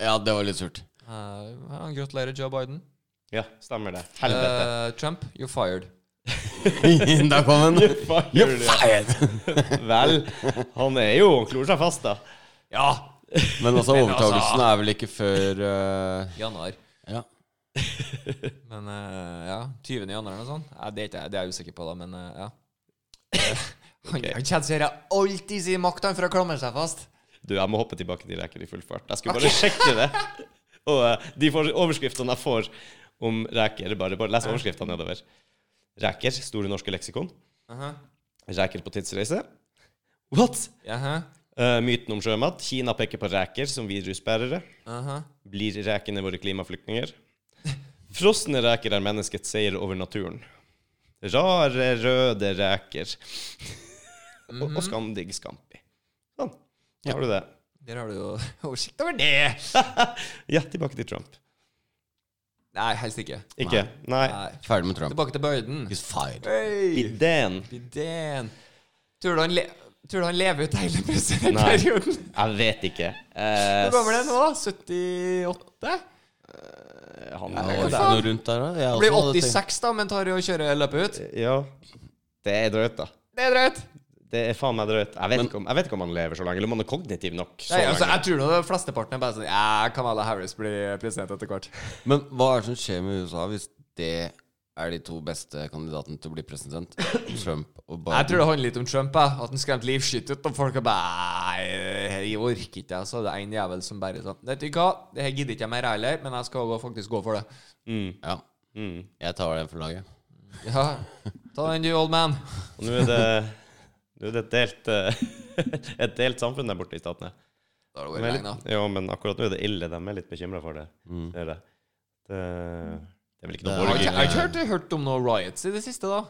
S3: Ja, det var litt surt.
S2: Eh, ja, gratulerer, Joe Biden.
S1: Ja, stemmer det. Helvete.
S2: Eh, Trump, you're fired.
S3: Der kom den.
S1: Fuck
S3: You're
S1: you,
S3: fired!
S1: du. Vel, han er jo Han klor seg fast, da.
S2: Ja!
S3: Men altså,
S2: Men altså-
S3: overtakelsen er vel ikke før eh,
S2: Januar.
S3: Ja.
S2: Men eh, ja, 20. januar eller noe sånt. Ja, det, er ikke, det er jeg usikker på, da, men eh, ja. Han
S1: Ok.
S2: okay. kjenner alltid sin makt han, for å klamre seg fast.
S1: Du, jeg må hoppe tilbake til reker i full fart. Jeg skulle bare sjekke det. Og eh, de for- overskriftene jeg får om reker Bare, bare les overskriftene nedover. Reker, Store norske leksikon.
S2: Jaha.
S1: Reker på tidsreise. What?
S2: Jaha.
S1: Eh, myten om sjømat. Kina peker på reker som virusbærere.
S2: Jaha.
S1: Blir rekene våre klimaflyktninger? Frosne reker er menneskets seier over naturen. Rare, røde reker. og, og skandig skampi. Sånn. Da har du det.
S2: Der har du jo oversikt over det.
S1: Ja, tilbake til Trump.
S2: Nei, helst ikke.
S1: Ikke? Nei.
S2: Nei.
S3: Ferdig med Trump.
S2: Tilbake til Biden.
S3: He's fired.
S2: Hey.
S1: Ideen
S2: Biden. Tror du han, le tror du han lever ut hele presidentperioden?
S1: Jeg vet ikke.
S2: Hvor
S1: Eh,
S2: gammel er han nå? 78?
S1: han er
S3: Ja, var det ikke noe rundt der, da? Jeg
S2: Blir
S1: sånn
S3: også hadde tenkt-
S2: 86 da, men tar jo og kjører løpet ut.
S1: Ja. Det er drøyt, da.
S2: Det er drøyt.
S1: Det er faen meg drøyt. Jeg vet, ikke, om, jeg vet ikke om han lever så lenge, eller om han er kognitiv nok. Så
S2: Nei, altså,
S1: lenge.
S2: jeg tror nå det flesteparten er bare sånn Ja, Kamala Harris blir president etter hvert.
S3: Men hva er det som skjer med USA hvis det er de to beste kandidatene til å bli president? Trump og Biden.
S2: Jeg tror det handler litt om Trump. Jeg. At han skremte livskitt ut av folk. Og bare Nei, jeg orker ikke. Så er det en jævel som bare sånn Vet du hva, det her gidder ikke jeg mer heller, men jeg skal gå- faktisk gå for det.
S3: Ja.
S1: Mm.
S3: Jeg tar den for laget.
S2: Ja, ta den du, old man.
S1: Og nå er det, nå er det et, delt, eh, et delt samfunn der borte i statene.
S2: Da har det
S1: Men,
S2: vært lenge, da.
S1: jo, men akkurat nå er det ille. De er litt bekymra for det. Det, er det. det. Det er vel ikke
S3: Det er
S1: noe
S2: Har ikke-
S1: borgerlig
S2: Jeg har ikke hørt, hørt om noen riots i det siste, da.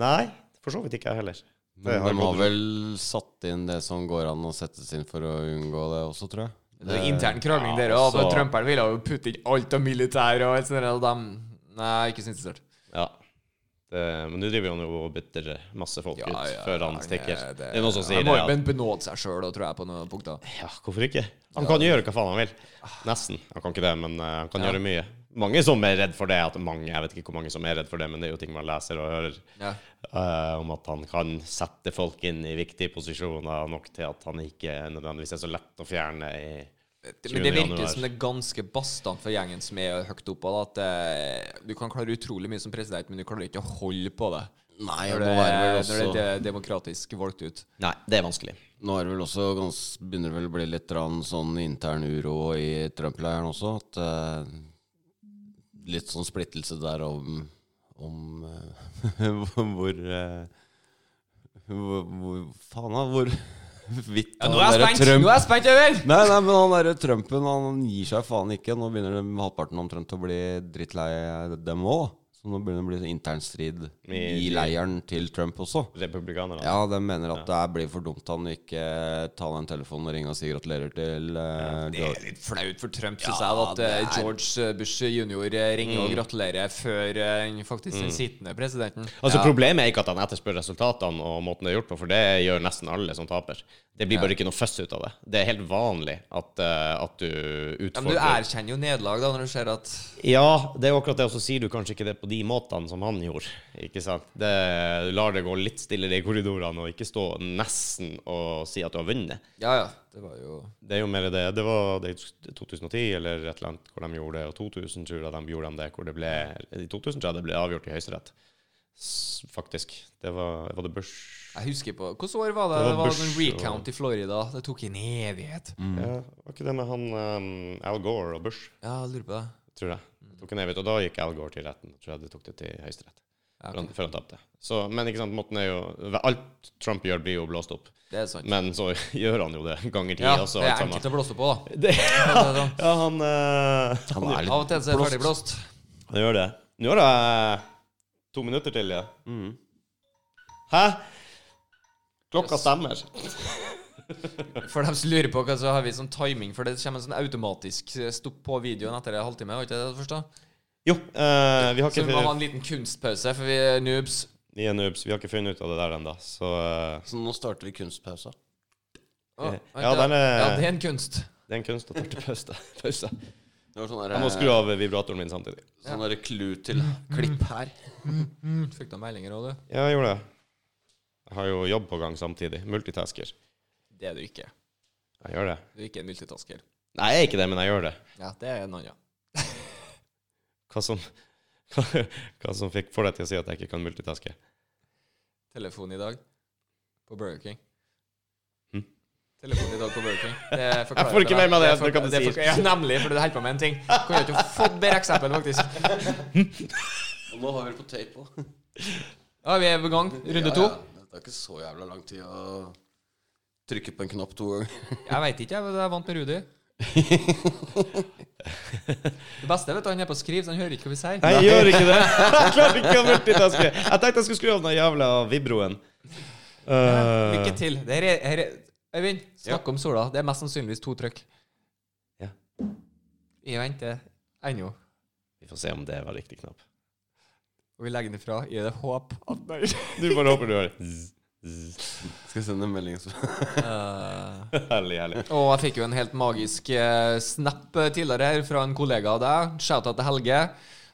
S1: Nei, for så vidt ikke jeg heller. Det
S3: Men
S1: har
S3: de har
S1: gått-
S3: vel satt inn det som går an å settes inn for å unngå det også, tror jeg.
S2: Det er intern krangling
S1: Eh, ja, altså-
S2: dere òg.
S1: så-
S2: Trumperen ville jo putte inn alt av militær og alt sånt. der, Og dem Nei, ikke så interessert.
S1: Ja. Det, men nå driver han jo og bytter masse folk ut før han stikker.
S2: nei,
S1: Det, er noen som sier
S2: han
S1: det.
S2: må jo
S1: At,
S2: ben- benåde seg sjøl, tror jeg, på noen punkter.
S1: ja, hvorfor ikke? Han kan gjøre hva faen han vil. Nesten. Han kan ikke det, men eh, han kan gjøre mye. Mange som er redd for det. At mange, jeg vet ikke hvor mange som er redd for det, men det er jo ting man leser og hører.
S2: Ja.
S1: eh, om at han kan sette folk inn i viktige posisjoner nok til at han ikke nødvendigvis er så lett å fjerne i
S2: Men det
S1: 20.
S2: virker
S1: januar.
S2: som det er ganske bastant for gjengen som er høyt oppe. da, At eh, du kan klare utrolig mye som president, men du klarer ikke å holde på det.
S3: Nei,
S2: Når
S3: og
S2: det,
S3: nå er det
S2: når
S3: vel
S2: det
S3: også
S2: er demokratisk valgt ut.
S1: Nei, det er vanskelig.
S3: Nå er det vel også gans, begynner det vel å bli litt grann sånn intern uro i Trump-leiren også. At eh, Litt sånn splittelse der om, om eh, hvor, eh, hvor Hvor faen, da? Hvor vidt
S2: Ja, nå er jeg
S3: han der
S2: spent!
S3: Trump
S2: Nå er jeg spent, Øyvind!
S3: Nei, nei, men han derre Trumpen, han gir seg faen ikke. Nå begynner de, halvparten omtrent å bli drittlei dem òg. Så nå begynner det å bli sånn intern strid i leiren til Trump også.
S1: Republikanerne.
S3: Ja, de mener at det her blir for dumt han vil ikke ta den telefonen og ringe og si gratulerer til eh,
S2: Det er
S3: Joe.
S2: litt flaut for Trump, syns
S3: Ja,
S2: jeg, at eh,
S3: det er- Mm.
S2: George Bush jr. eh, ringer og gratulerer før eh, den faktisk den sittende presidenten.
S1: Altså Problemet er ikke at han etterspør resultatene og måten det er gjort på, for det gjør nesten alle som taper. Det blir bare ikke noe fuss ut av det. Det er helt vanlig at, eh, at du
S2: Ja, men du
S1: utfordrer
S2: erkjenner jo nederlag da, når du ser at
S1: Ja, det er jo akkurat det, og så sier du kanskje ikke det på de måtene som han gjorde. Ikke sant? Det, du lar det gå litt stillere i korridorene, og ikke stå nesten og si at du har vunnet.
S2: Ja, ja. Det var jo
S1: Det er jo mer det. Det var det i 2010 eller et eller annet hvor de gjorde det, og 2000 tror jeg de gjorde de det, hvor det ble I 2000 tror jeg det ble avgjort i Høyesterett, S- faktisk. Det var, var det Bush
S2: Jeg husker på Hvilket år var det?
S1: Det var
S2: Det var,
S1: Bush
S2: en
S1: og-
S2: recount i Florida. Det tok en evighet.
S3: Mm.
S1: Ja, var ikke det med han ehm, Al Gore og Bush,
S2: Ja, jeg lurer på det.
S1: tror jeg.
S2: Mm.
S1: Det tok en evighet, og da gikk Al Gore til retten. Tror jeg de tok det til Høyesterett
S2: Ja,
S1: før han- før han tapte. Så, men ikke sant, måten er jo Alt Trump gjør, blir jo blåst opp.
S2: Det er sant.
S1: Men så gjør han jo det ganger ti
S2: Ja,
S1: også.
S2: det er
S1: alt
S2: enkelt
S1: sammen.
S2: å blåse på, da.
S1: Det,
S2: Det er sånn.
S1: ja, han, eh, han,
S3: Han er
S2: Av og
S3: litt
S2: til så er det
S3: blåst.
S2: ferdig blåst.
S1: han gjør det. Nå har jeg to minutter til, ja.
S2: Mm.
S1: Hæ? Klokka stemmer.
S2: For dem som lurer på hva, så har vi sånn timing, for det kommer en sånn automatisk stopp på videoen etter en halvtime. Var ikke det det første?
S1: Jo, eh, vi har
S2: Så
S1: ikke
S2: vi må ha
S1: funnet,
S2: en liten kunstpause, for vi er noobs.
S1: vi er noobs. Vi har ikke funnet ut av det der ennå, så eh,
S3: Så nå starter vi kunstpausa.
S2: Å,
S1: Ja,
S2: vent da.
S1: den er-
S2: ja, det er en kunst.
S1: det er en kunst å ta til pause. pause.
S3: Det var sånn
S1: Jeg må skru av vibratoren min samtidig.
S3: sånn derre clue til klipp her.
S2: Fikk du meldinger òg, du?
S1: Ja, jeg gjorde det. Jeg har jo jobb på gang samtidig. Multitasker.
S2: Det er du ikke.
S1: Jeg gjør det.
S2: Du er ikke en multitasker.
S1: Nei, jeg er ikke det, men jeg gjør det.
S2: Ja, det er en annen.
S1: Hva som, hva, som fikk for deg til å si at jeg ikke kan multitaske?
S2: Telefon i dag på Burger King.
S1: Hm?
S2: Telefon i dag på Burger King. Det forklarer
S1: Jeg får ikke
S2: for
S1: med
S2: deg.
S1: meg det,
S2: for-
S1: du kan det si.
S2: forklarer- Ja, nemlig, for du holder på med en ting. Kunne ikke fått bedre eksempel, faktisk.
S3: Og nå har vi det på tape òg.
S2: Ja, vi er på gang. Runde to.
S3: Det tar ikke så jævla lang tid å trykke på en knapp to ganger.
S2: Jeg veit ikke, jeg. men Jeg er vant med Rudi. Det beste vet du, han er på skriv, så han hører ikke hva vi sier.
S1: Nei, jeg gjør ikke det! Jeg klarer ikke å multitaske. Jeg tenkte jeg skulle skru av den jævla vibroen. Eh,
S2: Lykke til. Det her er, her er, Øyvind, snakk om sola. Det er mest sannsynligvis to trykk.
S1: Ja.
S2: Vi venter ennå.
S1: vi får se om det var riktig knapp.
S2: Og vi legger den ifra i det håp at Nei.
S1: Du bare håper du har zzz, zzz.
S3: Skal jeg sende en melding, så
S2: Eh,
S1: Herlig, herlig.
S2: Og jeg fikk jo en helt magisk eh, snap tidligere her fra en kollega av deg. Shout-out til Helge.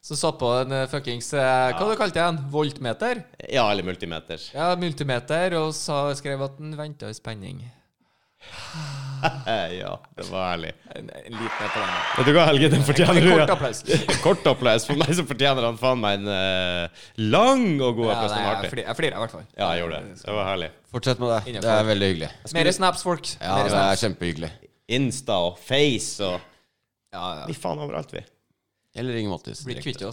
S2: Som satt på en eh, fuckings eh, Hva du kalte du den? Voltmeter?
S1: Ja, eller multimeter.
S2: Ja, multimeter, og sa, skrev at den venta i spenning.
S1: Eh, ja, det var ærlig.
S2: En, en liten et eller annet.
S1: Vet du hva, Helge, den fortjener
S2: En
S1: du.
S2: kort
S1: ja.
S2: applaus.
S1: Kort applaus. For meg så fortjener han faen meg en eh, lang og god
S2: Ja,
S1: applaus.
S2: nei,
S1: Den var
S2: jeg
S1: artig.
S2: flir- jeg flirer i hvert fall.
S1: Ja, jeg gjorde det. Det var herlig.
S3: Fortsett med det.
S2: Innenfor.
S3: Det er veldig hyggelig.
S2: Mer snaps, folk.
S3: Ja,
S2: Mere
S3: det
S2: snaps.
S3: er sånn- kjempehyggelig.
S1: Insta og Face og
S2: Ja, ja.
S1: Vi faen overalt, vi.
S3: Eller Ring Mattis.
S2: Blir
S3: direkte.
S2: kvitt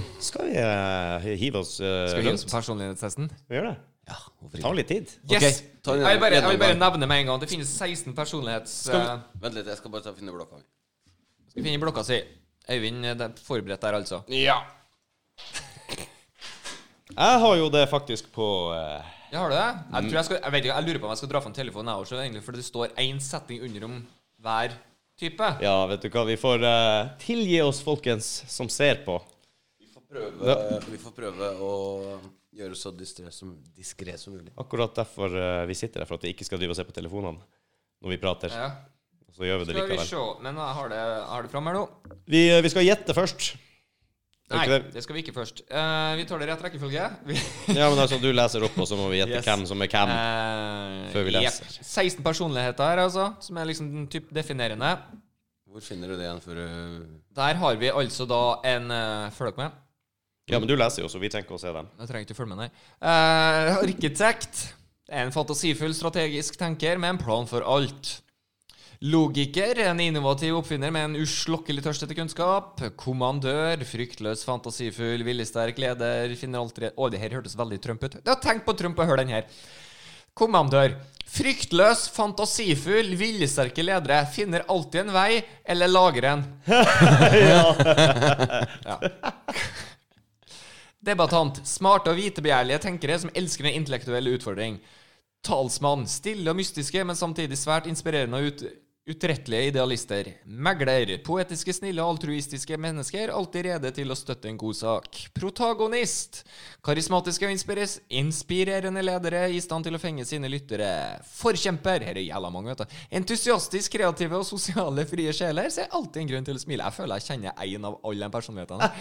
S2: oss.
S1: Skal vi eh, hive oss eh,
S2: Skal vi gi oss
S1: rundt?
S2: personlighetstesten?
S1: Vi gjør det.
S3: Ja, hvorfor
S1: Ta
S3: ikke?
S1: litt tid.
S2: Yes!
S3: Ok, ta
S2: jeg, vil
S3: en
S2: bare, jeg vil bare
S3: gjennomgang.
S2: nevne med en gang. Det finnes 16 personlighets... eh,
S3: Vent litt, jeg skal bare ta og finne blokka.
S2: Skal vi finne blokka si. Øyvind, eh, det er forberedt der, altså.
S3: Ja.
S1: Jeg har jo det faktisk på eh,
S2: Ja, har du det? Jeg, tror jeg, skal, jeg, vet ikke, jeg lurer på om jeg skal dra fram telefonen, jeg også, egentlig, for det står én setning under om hver type.
S1: Ja, vet du hva. Vi får eh, tilgi oss, folkens, som ser på.
S3: Vi får prøve, vi får prøve å gjøre så diskré som, diskré som mulig.
S1: Akkurat derfor eh, vi sitter her, for at vi ikke skal drive og se på telefonene når vi prater.
S2: Ja.
S1: Så gjør vi det
S2: Skal vi
S1: likevel.
S2: se. Men jeg har det, jeg har det fram her nå.
S1: Vi, eh, vi skal gjette først. Er
S2: Nei,
S1: ikke det-
S2: det skal vi ikke først. Eh, vi tar det i rett rekkefølge. Vi,
S1: Ja, men altså, du leser opp, og så må vi gjette
S2: Yes.
S1: hvem som er hvem.
S2: Eh,
S1: Mm. Før vi
S2: jepp.
S1: leser.
S2: 16 personligheter her, altså, som er liksom den typ definerende.
S3: Hvor finner du det igjen før eh, du
S2: Der har vi altså da en uh, Følg dere med.
S1: Ja, men du leser jo, så vi trenger ikke å se dem.
S2: Jeg trenger ikke følge med, nei. Eh, arkitekt er en fantasifull strategisk tenker med en plan for alt. Logiker en innovativ oppfinner med en uslokkelig tørst etter kunnskap. Kommandør fryktløs, fantasifull, viljesterk leder finner alltid Å, det her hørtes veldig Trump ut. Ja, tenk på Trump og hør den her. Kommandør. Fryktløs, fantasifull, viljesterke ledere finner alltid en vei, eller lager en. ja. Debattant. Smarte og vitebegjærlige tenkere som elsker en intellektuell utfordring. Talsmann. Stille og mystiske, men samtidig svært inspirerende og ut utrettelige idealister. Megler. Poetiske, snille og altruistiske mennesker, alltid rede til å støtte en god sak. Protagonist. Karismatiske og inspiris- inspirerende ledere i stand til å fenge sine lyttere. Forkjemper. Her er jævla mange, vet du. Entusiastisk, kreative og sosiale frie sjeler ser alltid en grunn til å smile. Jeg føler jeg kjenner én av alle de personlighetene.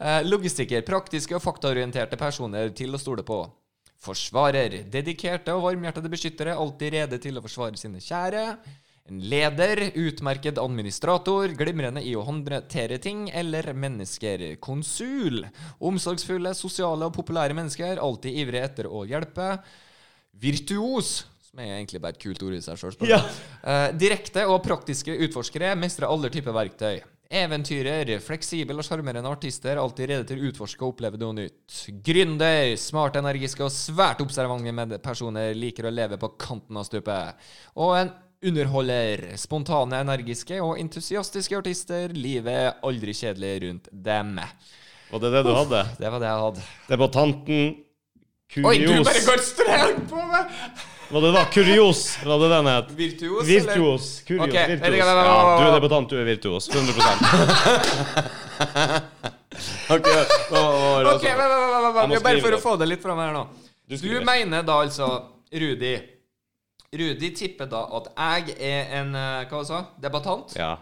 S2: Eh, Logistiker. Praktiske og faktaorienterte personer til å stole på. Forsvarer. Dedikerte og varmhjertede beskyttere, alltid rede til å forsvare sine kjære. En leder, utmerket administrator, glimrende i å håndtere ting eller mennesker. Konsul. Omsorgsfulle, sosiale og populære mennesker, alltid ivrige etter å hjelpe. Virtuos, som er egentlig bare et kult ord i seg sjøl.
S1: Ja.
S2: Eh, direkte og praktiske utforskere mestrer alle typer verktøy. Eventyrer, fleksibel og sjarmerende artister, alltid rede til å utforske og oppleve noe nytt. Gründer, smarte, energiske og svært observante medpersoner, liker å leve på kanten av stupet. Og en underholder, spontane, energiske og entusiastiske artister, livet er aldri kjedelig rundt dem.
S1: Var det det du hadde?
S2: Det var det jeg hadde.
S1: Debattanten
S2: Oi, du bare
S1: Kurios.
S2: går strelt på meg!
S1: Var det da? Kurios, var det den het?
S2: Virtuos, eller?
S1: Virtuos. Kurios.
S2: Ok,
S1: virtuos.
S2: vent, vent, vent,
S1: Ja,
S2: vent,
S1: du er
S2: vent.
S1: debattant, du er virtuos. 100
S3: Ok, hva var det
S2: Ok,
S3: altså?
S2: vent, vent, vent, vent, vent.
S1: sånn. må
S2: Vi er Bare
S1: skrive
S2: for å
S1: det.
S2: få det litt fram her nå.
S1: Du
S2: Du
S1: skriver.
S2: mener da altså, Rudi Rudi tipper da at jeg er en eh, Hva sa du? Debattant?
S1: Ja.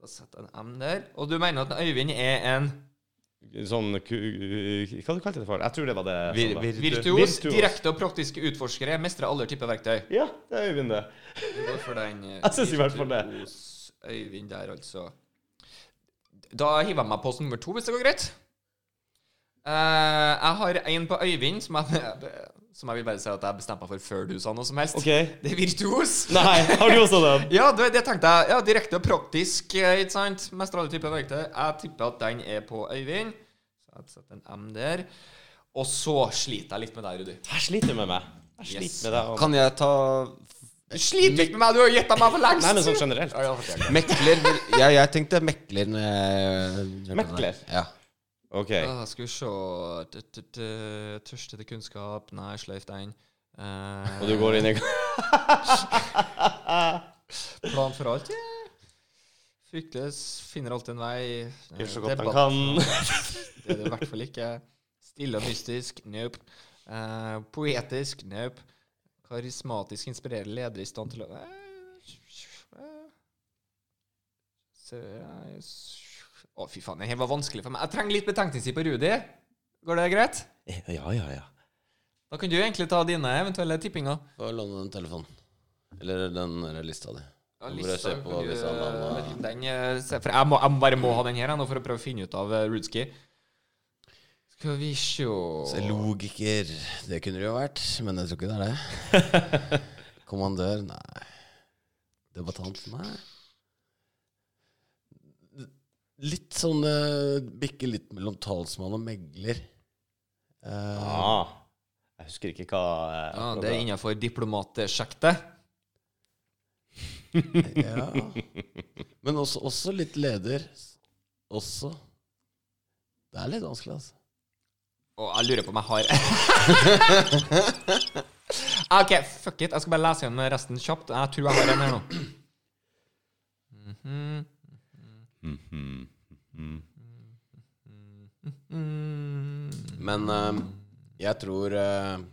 S2: Da setter jeg en M der. Og du mener at Øyvind er en
S1: Sånn ku... Hva du kalte du det for? Jeg tror det var det.
S3: Vir-
S1: sånn det.
S3: vir-
S2: virtuos,
S1: Virtuos.
S2: direkte og praktiske utforskere, mestrer alle typer verktøy.
S1: Ja, det er Øyvind, det.
S2: Vi går for den eh,
S1: Jeg synes i hvert fall det.
S2: virtuos Øyvind der, altså. Da hiver jeg meg på som nummer to, hvis det går greit. Eh, jeg har en på Øyvind som jeg, som jeg vil bare si at jeg bestemte meg for før du sa noe som helst.
S1: OK.
S2: Det er virtuos.
S1: Nei, har du også den?
S2: Ja, det, det tenkte jeg. Ja, Direkte og praktisk, eh, ikke sant? Mest alle typer verktøy. Jeg tipper at den er på Øyvind. Så jeg setter en M der. Og så sliter jeg litt med deg, Rudi.
S1: Jeg sliter med meg. Jeg sliter
S2: Yes.
S1: med deg. og-
S3: Kan jeg ta
S2: Du sliter ikke med meg, du har gjetta meg for lengst!
S1: Nei, men sånn generelt.
S2: Ja, ja, fortell.
S3: Mekler? Ja, jeg tenkte mekler. når jeg-
S1: Mekler?
S3: Ja.
S1: OK.
S2: Ah, skal vi se T- t- t- Tørst etter kunnskap. Nei, sløyf den. Eh,
S1: Og du går inn i
S2: Eh, Plan for alt? Ja. Fryktløs. Finner alltid en vei. Eh,
S1: Gjør så godt han
S2: debatt.
S1: kan.
S2: Det er det i hvert fall ikke. Stille og mystisk. Nope. Eh, poetisk. Nope. Karismatisk inspirerende leder i stand til å eh, eh, så, eh, Å, fy faen, det her var vanskelig for meg. Jeg trenger litt betenkningstid på Rudi. Går det greit?
S3: Ja, ja, ja.
S2: Da kan du egentlig ta dine eventuelle tippinger.
S3: Få låne den telefonen. Eller den der lista di.
S2: Ja,
S3: Nå må jeg se på
S2: kan
S3: hvis han har-
S2: du- den, eh, se- for jeg, må, jeg bare må ha den her jeg, nå for å prøve å finne ut av eh, Rudski. Skal vi
S3: Så
S2: sjå
S3: logiker Det kunne det jo vært, men jeg tror ikke det er det. Kommandør? Nei. Debattant? Nei. Litt sånn eh, Bikke litt mellom talsmann og megler. Eh,
S1: Ah, jeg husker ikke hva eh,
S2: Ja,
S1: hva
S2: det er innafor diplomatsjektet.
S3: ja. Men også, også litt leder. Også. Det er litt vanskelig, altså.
S2: Og jeg lurer på om jeg har OK, fuck it. Jeg skal bare lese igjen med resten kjapt. Jeg tror jeg har en her nå. Mhm.
S1: Mhm. Mhm.
S2: Mm.
S3: Men eh, jeg tror eh,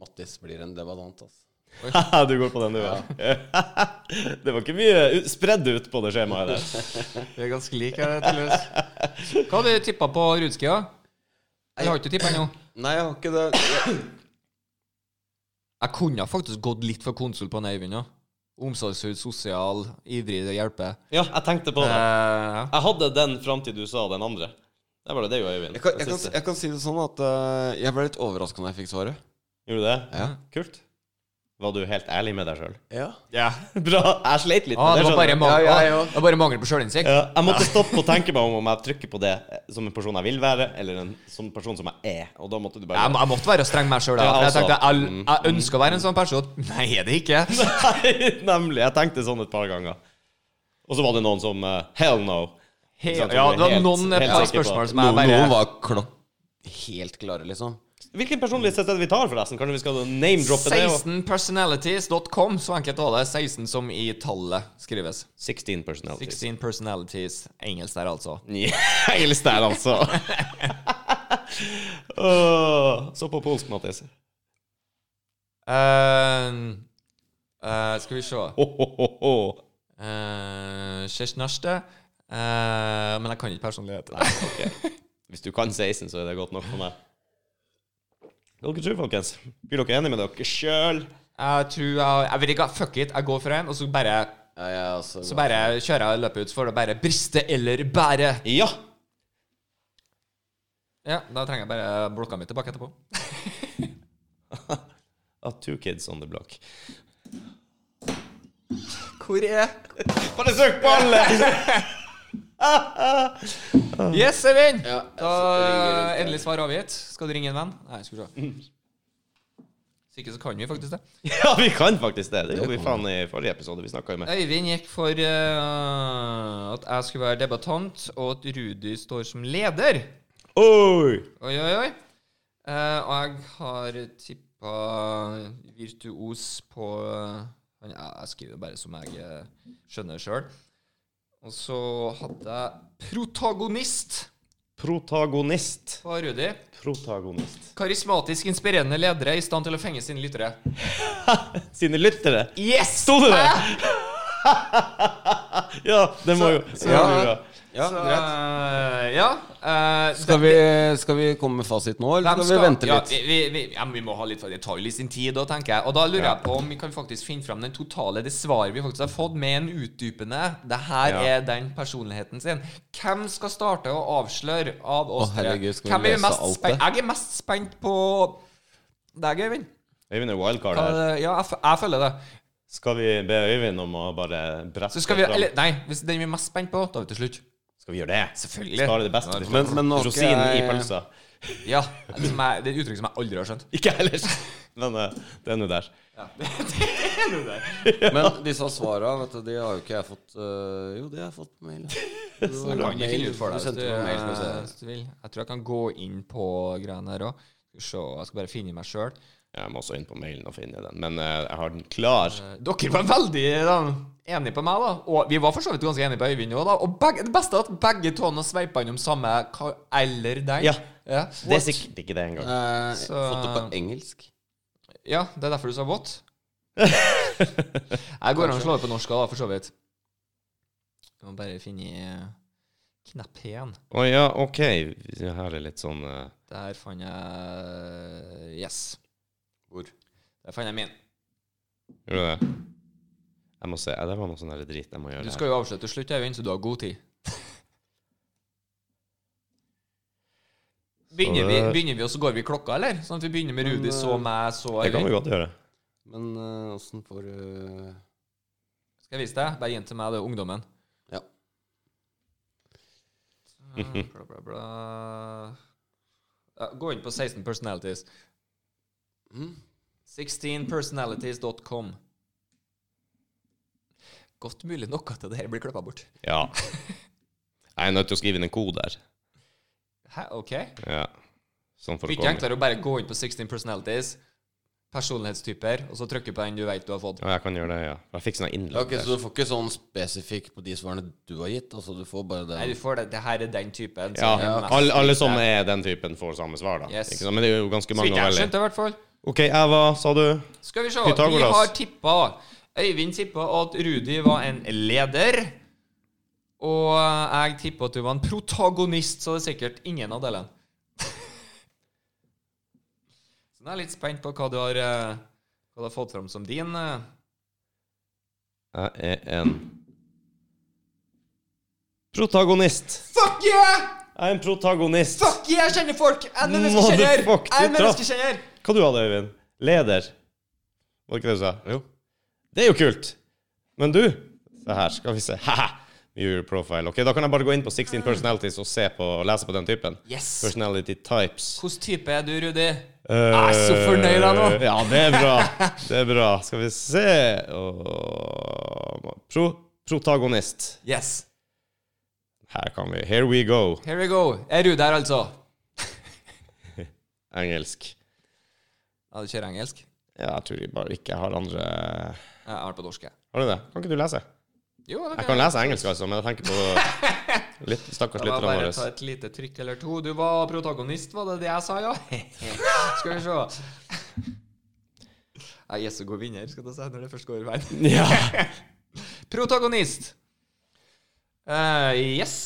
S3: Mattis blir en debattant, altså.
S1: Haha, du går på den, du, ja. det var ikke mye u- spredd ut på det skjemaet der.
S2: Vi er ganske like, eh, tydeligvis. Hva har du tippa på Rudski, da? Jeg har ikke tippa ennå.
S3: Nei, jeg har ikke det.
S2: Jeg kunne faktisk gått litt for konsul på den Øyvind. ja. Omsorgshud, sosial, ivrig til å hjelpe.
S1: Ja, jeg tenkte på det.
S2: Eh,
S1: Jeg hadde den fram til du sa den andre. Det var det, det jo, Øyvind.
S3: Jeg kan, jeg,
S1: Den
S3: kan,
S1: siste.
S3: jeg kan si det sånn at eh, jeg ble litt overraska når jeg fikk svaret.
S1: Gjorde du det?
S3: Ja.
S1: Kult. Var du helt ærlig med deg sjøl?
S3: Ja.
S1: Ja. Bra. Jeg sleit litt.
S2: ah,
S1: med
S2: det, var bare
S1: skjønner jeg.
S2: mangel,
S3: Ja, jeg
S2: ah,
S3: òg.
S2: det var bare mangel på sjølinnsikt.
S1: ja, jeg måtte stoppe og tenke meg om om jeg trykker på det eh, som en person jeg vil være, eller en som person som jeg er. Og da måtte du bare
S2: Jeg, må- jeg måtte være streng med meg sjøl.
S1: Ja,
S2: Jeg
S1: altså.
S2: tenkte jeg, jeg ønsker å være en sånn person. Nei, er det ikke.
S1: Nei, nemlig. Jeg tenkte sånn et par ganger. Og så var det noen som eh, Hell no.
S2: He-
S1: Ikke sant,
S2: ja,
S1: som
S2: det var
S1: helt-
S2: noen
S1: helt
S2: par
S1: sikker på.
S2: spørsmål som jeg
S3: Noen,
S2: bare
S3: noen var klokk helt klare, liksom.
S1: Hvilken personlighet er det vi tar, forresten? Kanskje vi skal name-droppe det? Og...
S2: 16personalities.com, så enkelt var det. 16 som i tallet skrives.
S1: 16 personalities.
S2: 16 personalities. Engelsk der, altså.
S1: Engelsk der, altså. Åh, så på polsk, Mattis.
S2: Ehm, eh, skal vi se
S1: Ho, ho, ho, ho.
S2: uh, Sjesjnasjte. Eh, men jeg kan ikke personlighet.
S1: Hvis du kan 16, så er det godt nok for meg. Hva dere tror folkens? Blir dere enige med dere sjøl?
S2: Jeg tror jeg Jeg vet ikke, fuck it. Jeg går for en, og så bare,
S3: Ja, jeg er også
S2: så bare kjører jeg løpet ut, så får det bare briste eller bære.
S1: Ja!
S2: Ja, da trenger jeg bare blokka mi tilbake etterpå.
S1: Ah, two kids on the block.
S2: Hvor er
S1: Bare søk på alle!
S2: Yes, Eivind!
S3: Ja,
S2: da
S3: jeg ringer
S2: eh,
S3: rundt her.
S2: endelig svar avgitt. Skal du ringe en venn? Nei, skal vi
S3: Mm.
S2: se. Hvis ikke så kan vi faktisk det.
S1: Ja, vi kan faktisk det. Det gjorde
S3: Det
S1: vi
S3: kan
S1: faen i forrige episode. Vi snakka jo med
S2: Øyvind gikk for eh, at jeg skulle være debattant, og at Rudi står som leder.
S1: Oi!
S2: Oi, oi, oi. Eh, og jeg har tippa virtuos på eh, ja, Jeg skriver bare som jeg eh, skjønner sjøl. Og så hadde jeg protagonist
S1: Protagonist.
S2: på Rudi.
S1: Protagonist.
S2: Karismatisk inspirerende ledere i stand til å fenge sine lyttere.
S1: Sine lyttere.
S2: Yes!
S1: Sto det det? Ja, det må jo
S3: Så-
S1: ja.
S3: ja.
S2: Ja,
S3: Så,
S2: greit. ja. eh,
S3: Skal vi, skal vi komme med fasit nå, eller
S2: hvem
S3: skal, vi vente litt?
S2: Ja, vi, vi, vi, ja, men vi må ha litt for Det tar jo litt sin tid, da, tenker jeg. Og da lurer
S1: Ja.
S2: jeg på om vi kan faktisk finne fram den totale det svaret vi faktisk har fått, med en utdypende Det her
S1: Ja.
S2: er den personligheten sin. Hvem skal starte å avsløre av oss
S3: Å,
S2: tre?
S3: herregud, skal vi
S2: Hvem er
S3: lese
S2: mest
S3: alt
S2: spent-
S3: det?
S2: Jeg er mest spent på deg, Øyvind.
S1: Øyvind er wildcard
S2: Hva-
S1: her.
S2: Ja, jeg, f- jeg føler det.
S1: Skal vi be Øyvind om å bare brette
S2: Så skal vi
S1: fram?
S2: Eller, nei, hvis den vi er mest spent på, tar vi til slutt.
S1: Skal vi gjøre det?
S2: Selvfølgelig.
S1: Spare det beste.
S3: Men- men nå har ikke
S1: Rosinen i
S3: jeg-
S1: pølsa.
S2: Ja, det, som er, det er et uttrykk som jeg aldri har skjønt.
S1: Ikke ellers. Men eh, det er nå der.
S3: Men disse svara, vet du, de har jo ikke jeg fått øh, Jo, de har jeg fått på mail.
S2: Så kan vi finne ut for
S3: Du
S2: deg
S3: sendte meg mail, skal vi
S2: hvis du vil. Jeg tror jeg kan gå inn på greiene her òg. Jeg skal bare finne meg sjøl.
S1: Jeg må også inn på mailen og finne den. Men eh, jeg har den klar.
S2: Eh, Dere var veldig da, enige på meg, da. Og vi var for så vidt ganske enige på Øyvind òg, da. Og begge, det beste er at begge tåene sveipa innom samme ka eller den.
S1: Ja.
S2: Ja.
S1: Det er sikkert ikke det engang.
S3: se. Eh,
S2: Så-
S3: Fått det på engelsk?
S2: ja, det er derfor du sa what. Jeg går an å slå det på norsk òg, for så vidt. Jeg må bare finne knappen.
S1: Å ja, OK. Her er litt sånn eh,
S2: Der fant jeg Yes.
S3: Hvor?
S2: Der fant jeg min.
S1: Gjorde du det? Jeg må se. Ja, Det var noe sånn der drit jeg må gjøre.
S2: Du skal jo avslutte. Du slutter jo inn, så du har god tid. Begynner vi, begynner vi, og så går vi i klokka, eller? Sånn at vi begynner med
S3: Men,
S2: Rudi, så meg, så
S1: her. Det kan
S2: Øyvind.
S1: vi godt gjøre.
S3: Men eh, åssen får eh, du
S2: Skal jeg vise deg? Bare gi den til meg, det er ungdommen.
S3: Ja.
S2: Så, Bla, bla, bla. Ja, Gå inn på 16 personalities. Mm.
S3: hm?
S2: 16personalities.com. Godt mulig noe til det her blir klippa bort.
S1: Ja. Jeg er nødt til å skrive inn en kode her.
S2: Hæ, OK?
S1: Ja. Sånn for å
S2: Mye
S1: komme.
S2: enklere å bare gå inn på 16 personalities, personlighetstyper, og så trykke på den du vet du har fått.
S1: Ja, jeg kan gjøre det, ja. Jeg fikk sånn innlegg.
S3: Ok, Så du får ikke sånn spesifikk på de svarene du har gitt? Altså Du får bare
S2: Nei,
S3: det
S2: du får det. Det her er den typen.
S1: Ja,
S2: som er mest
S1: alle, alle
S2: lik
S1: som
S2: deg.
S1: er den typen, får samme svar, da.
S2: Yes.
S1: Ikke sant? Men det er jo ganske
S2: Så
S1: mange
S2: vidt
S1: å
S2: jeg
S1: velge.
S2: skjønte, i hvert fall.
S1: OK, jeg var, sa du
S2: Skal vi se. Vi
S1: Pythagoras.
S2: har tippa Øyvind tippa at Rudi var en leder. Og jeg tippa at du var en protagonist, så det er sikkert ingen av delene. Så nå er jeg litt spent på hva du har, eh, hva du har fått fram som din. eh.
S1: Jeg er en Protagonist.
S2: Fuck yeah!
S1: Jeg er en protagonist.
S2: Fuck, jeg kjenner folk! Jeg er en menneskekjenner!
S1: Motherfuck,
S2: Jeg er en
S1: du traff.
S2: menneskekjenner!
S1: Hva du hadde du, Øyvind? Leder. Var det ikke det du sa? Jo. Det er jo kult. Men du Se her, skal vi se. Haha. Viewer profile. Ok, Da kan jeg bare gå inn på 16 personalities og se på og lese på den typen.
S2: Yes!
S1: Personality types.
S2: Hvilken type er du, Rudi?
S1: Jeg
S2: er Ah, så fornøyd jeg nå.
S1: Eh, Ja, det er bra. Det er bra. Skal vi se Åh, pro Protagonist.
S2: Yes.
S1: Her kan vi. Here we go.
S2: Here we go. Er du der, altså?
S1: Engelsk.
S2: Ja, du kjører engelsk?
S1: Ja, jeg tror jeg bare ikke har andre
S2: Ja, Jeg har vært på norsk, jeg.
S1: Har du det? Kan ikke du lese?
S2: Jo, det
S1: Jeg kan lese engelsk, altså, men jeg tenker på litt, stakkars
S2: Da må jeg
S1: lytterne
S2: bare ta
S1: våre.
S2: et lite trykk eller to. Du var protagonist, var det det jeg sa, ja? skal vi se. Jeg er så god vinner, skal du si, når det først går veien.
S1: Ja.
S2: Protagonist. Eh, yes.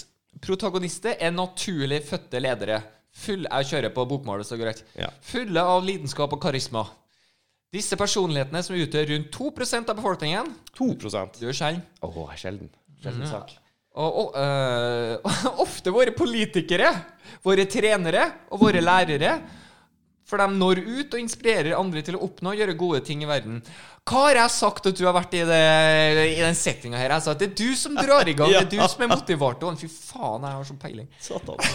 S2: Protagonister er naturlig fødte ledere. Full, jeg kjører på bokmålet, så greit.
S1: Ja.
S2: Fulle av lidenskap og karisma. Disse personlighetene, som utgjør rundt 2 av befolkningen
S1: 2
S2: Du er sjelden.
S1: Åh, er sjelden. Sjelden sak.
S2: Og, og eh, ofte våre politikere, våre trenere og våre lærere. For de når ut og inspirerer andre til å oppnå og gjøre gode ting i verden. Hva har jeg sagt at du har vært i, det, i den settinga her? Jeg sa at det er du som drar i gang, det er du som er motivatoren. Fy faen, jeg har så peiling.
S1: Satan.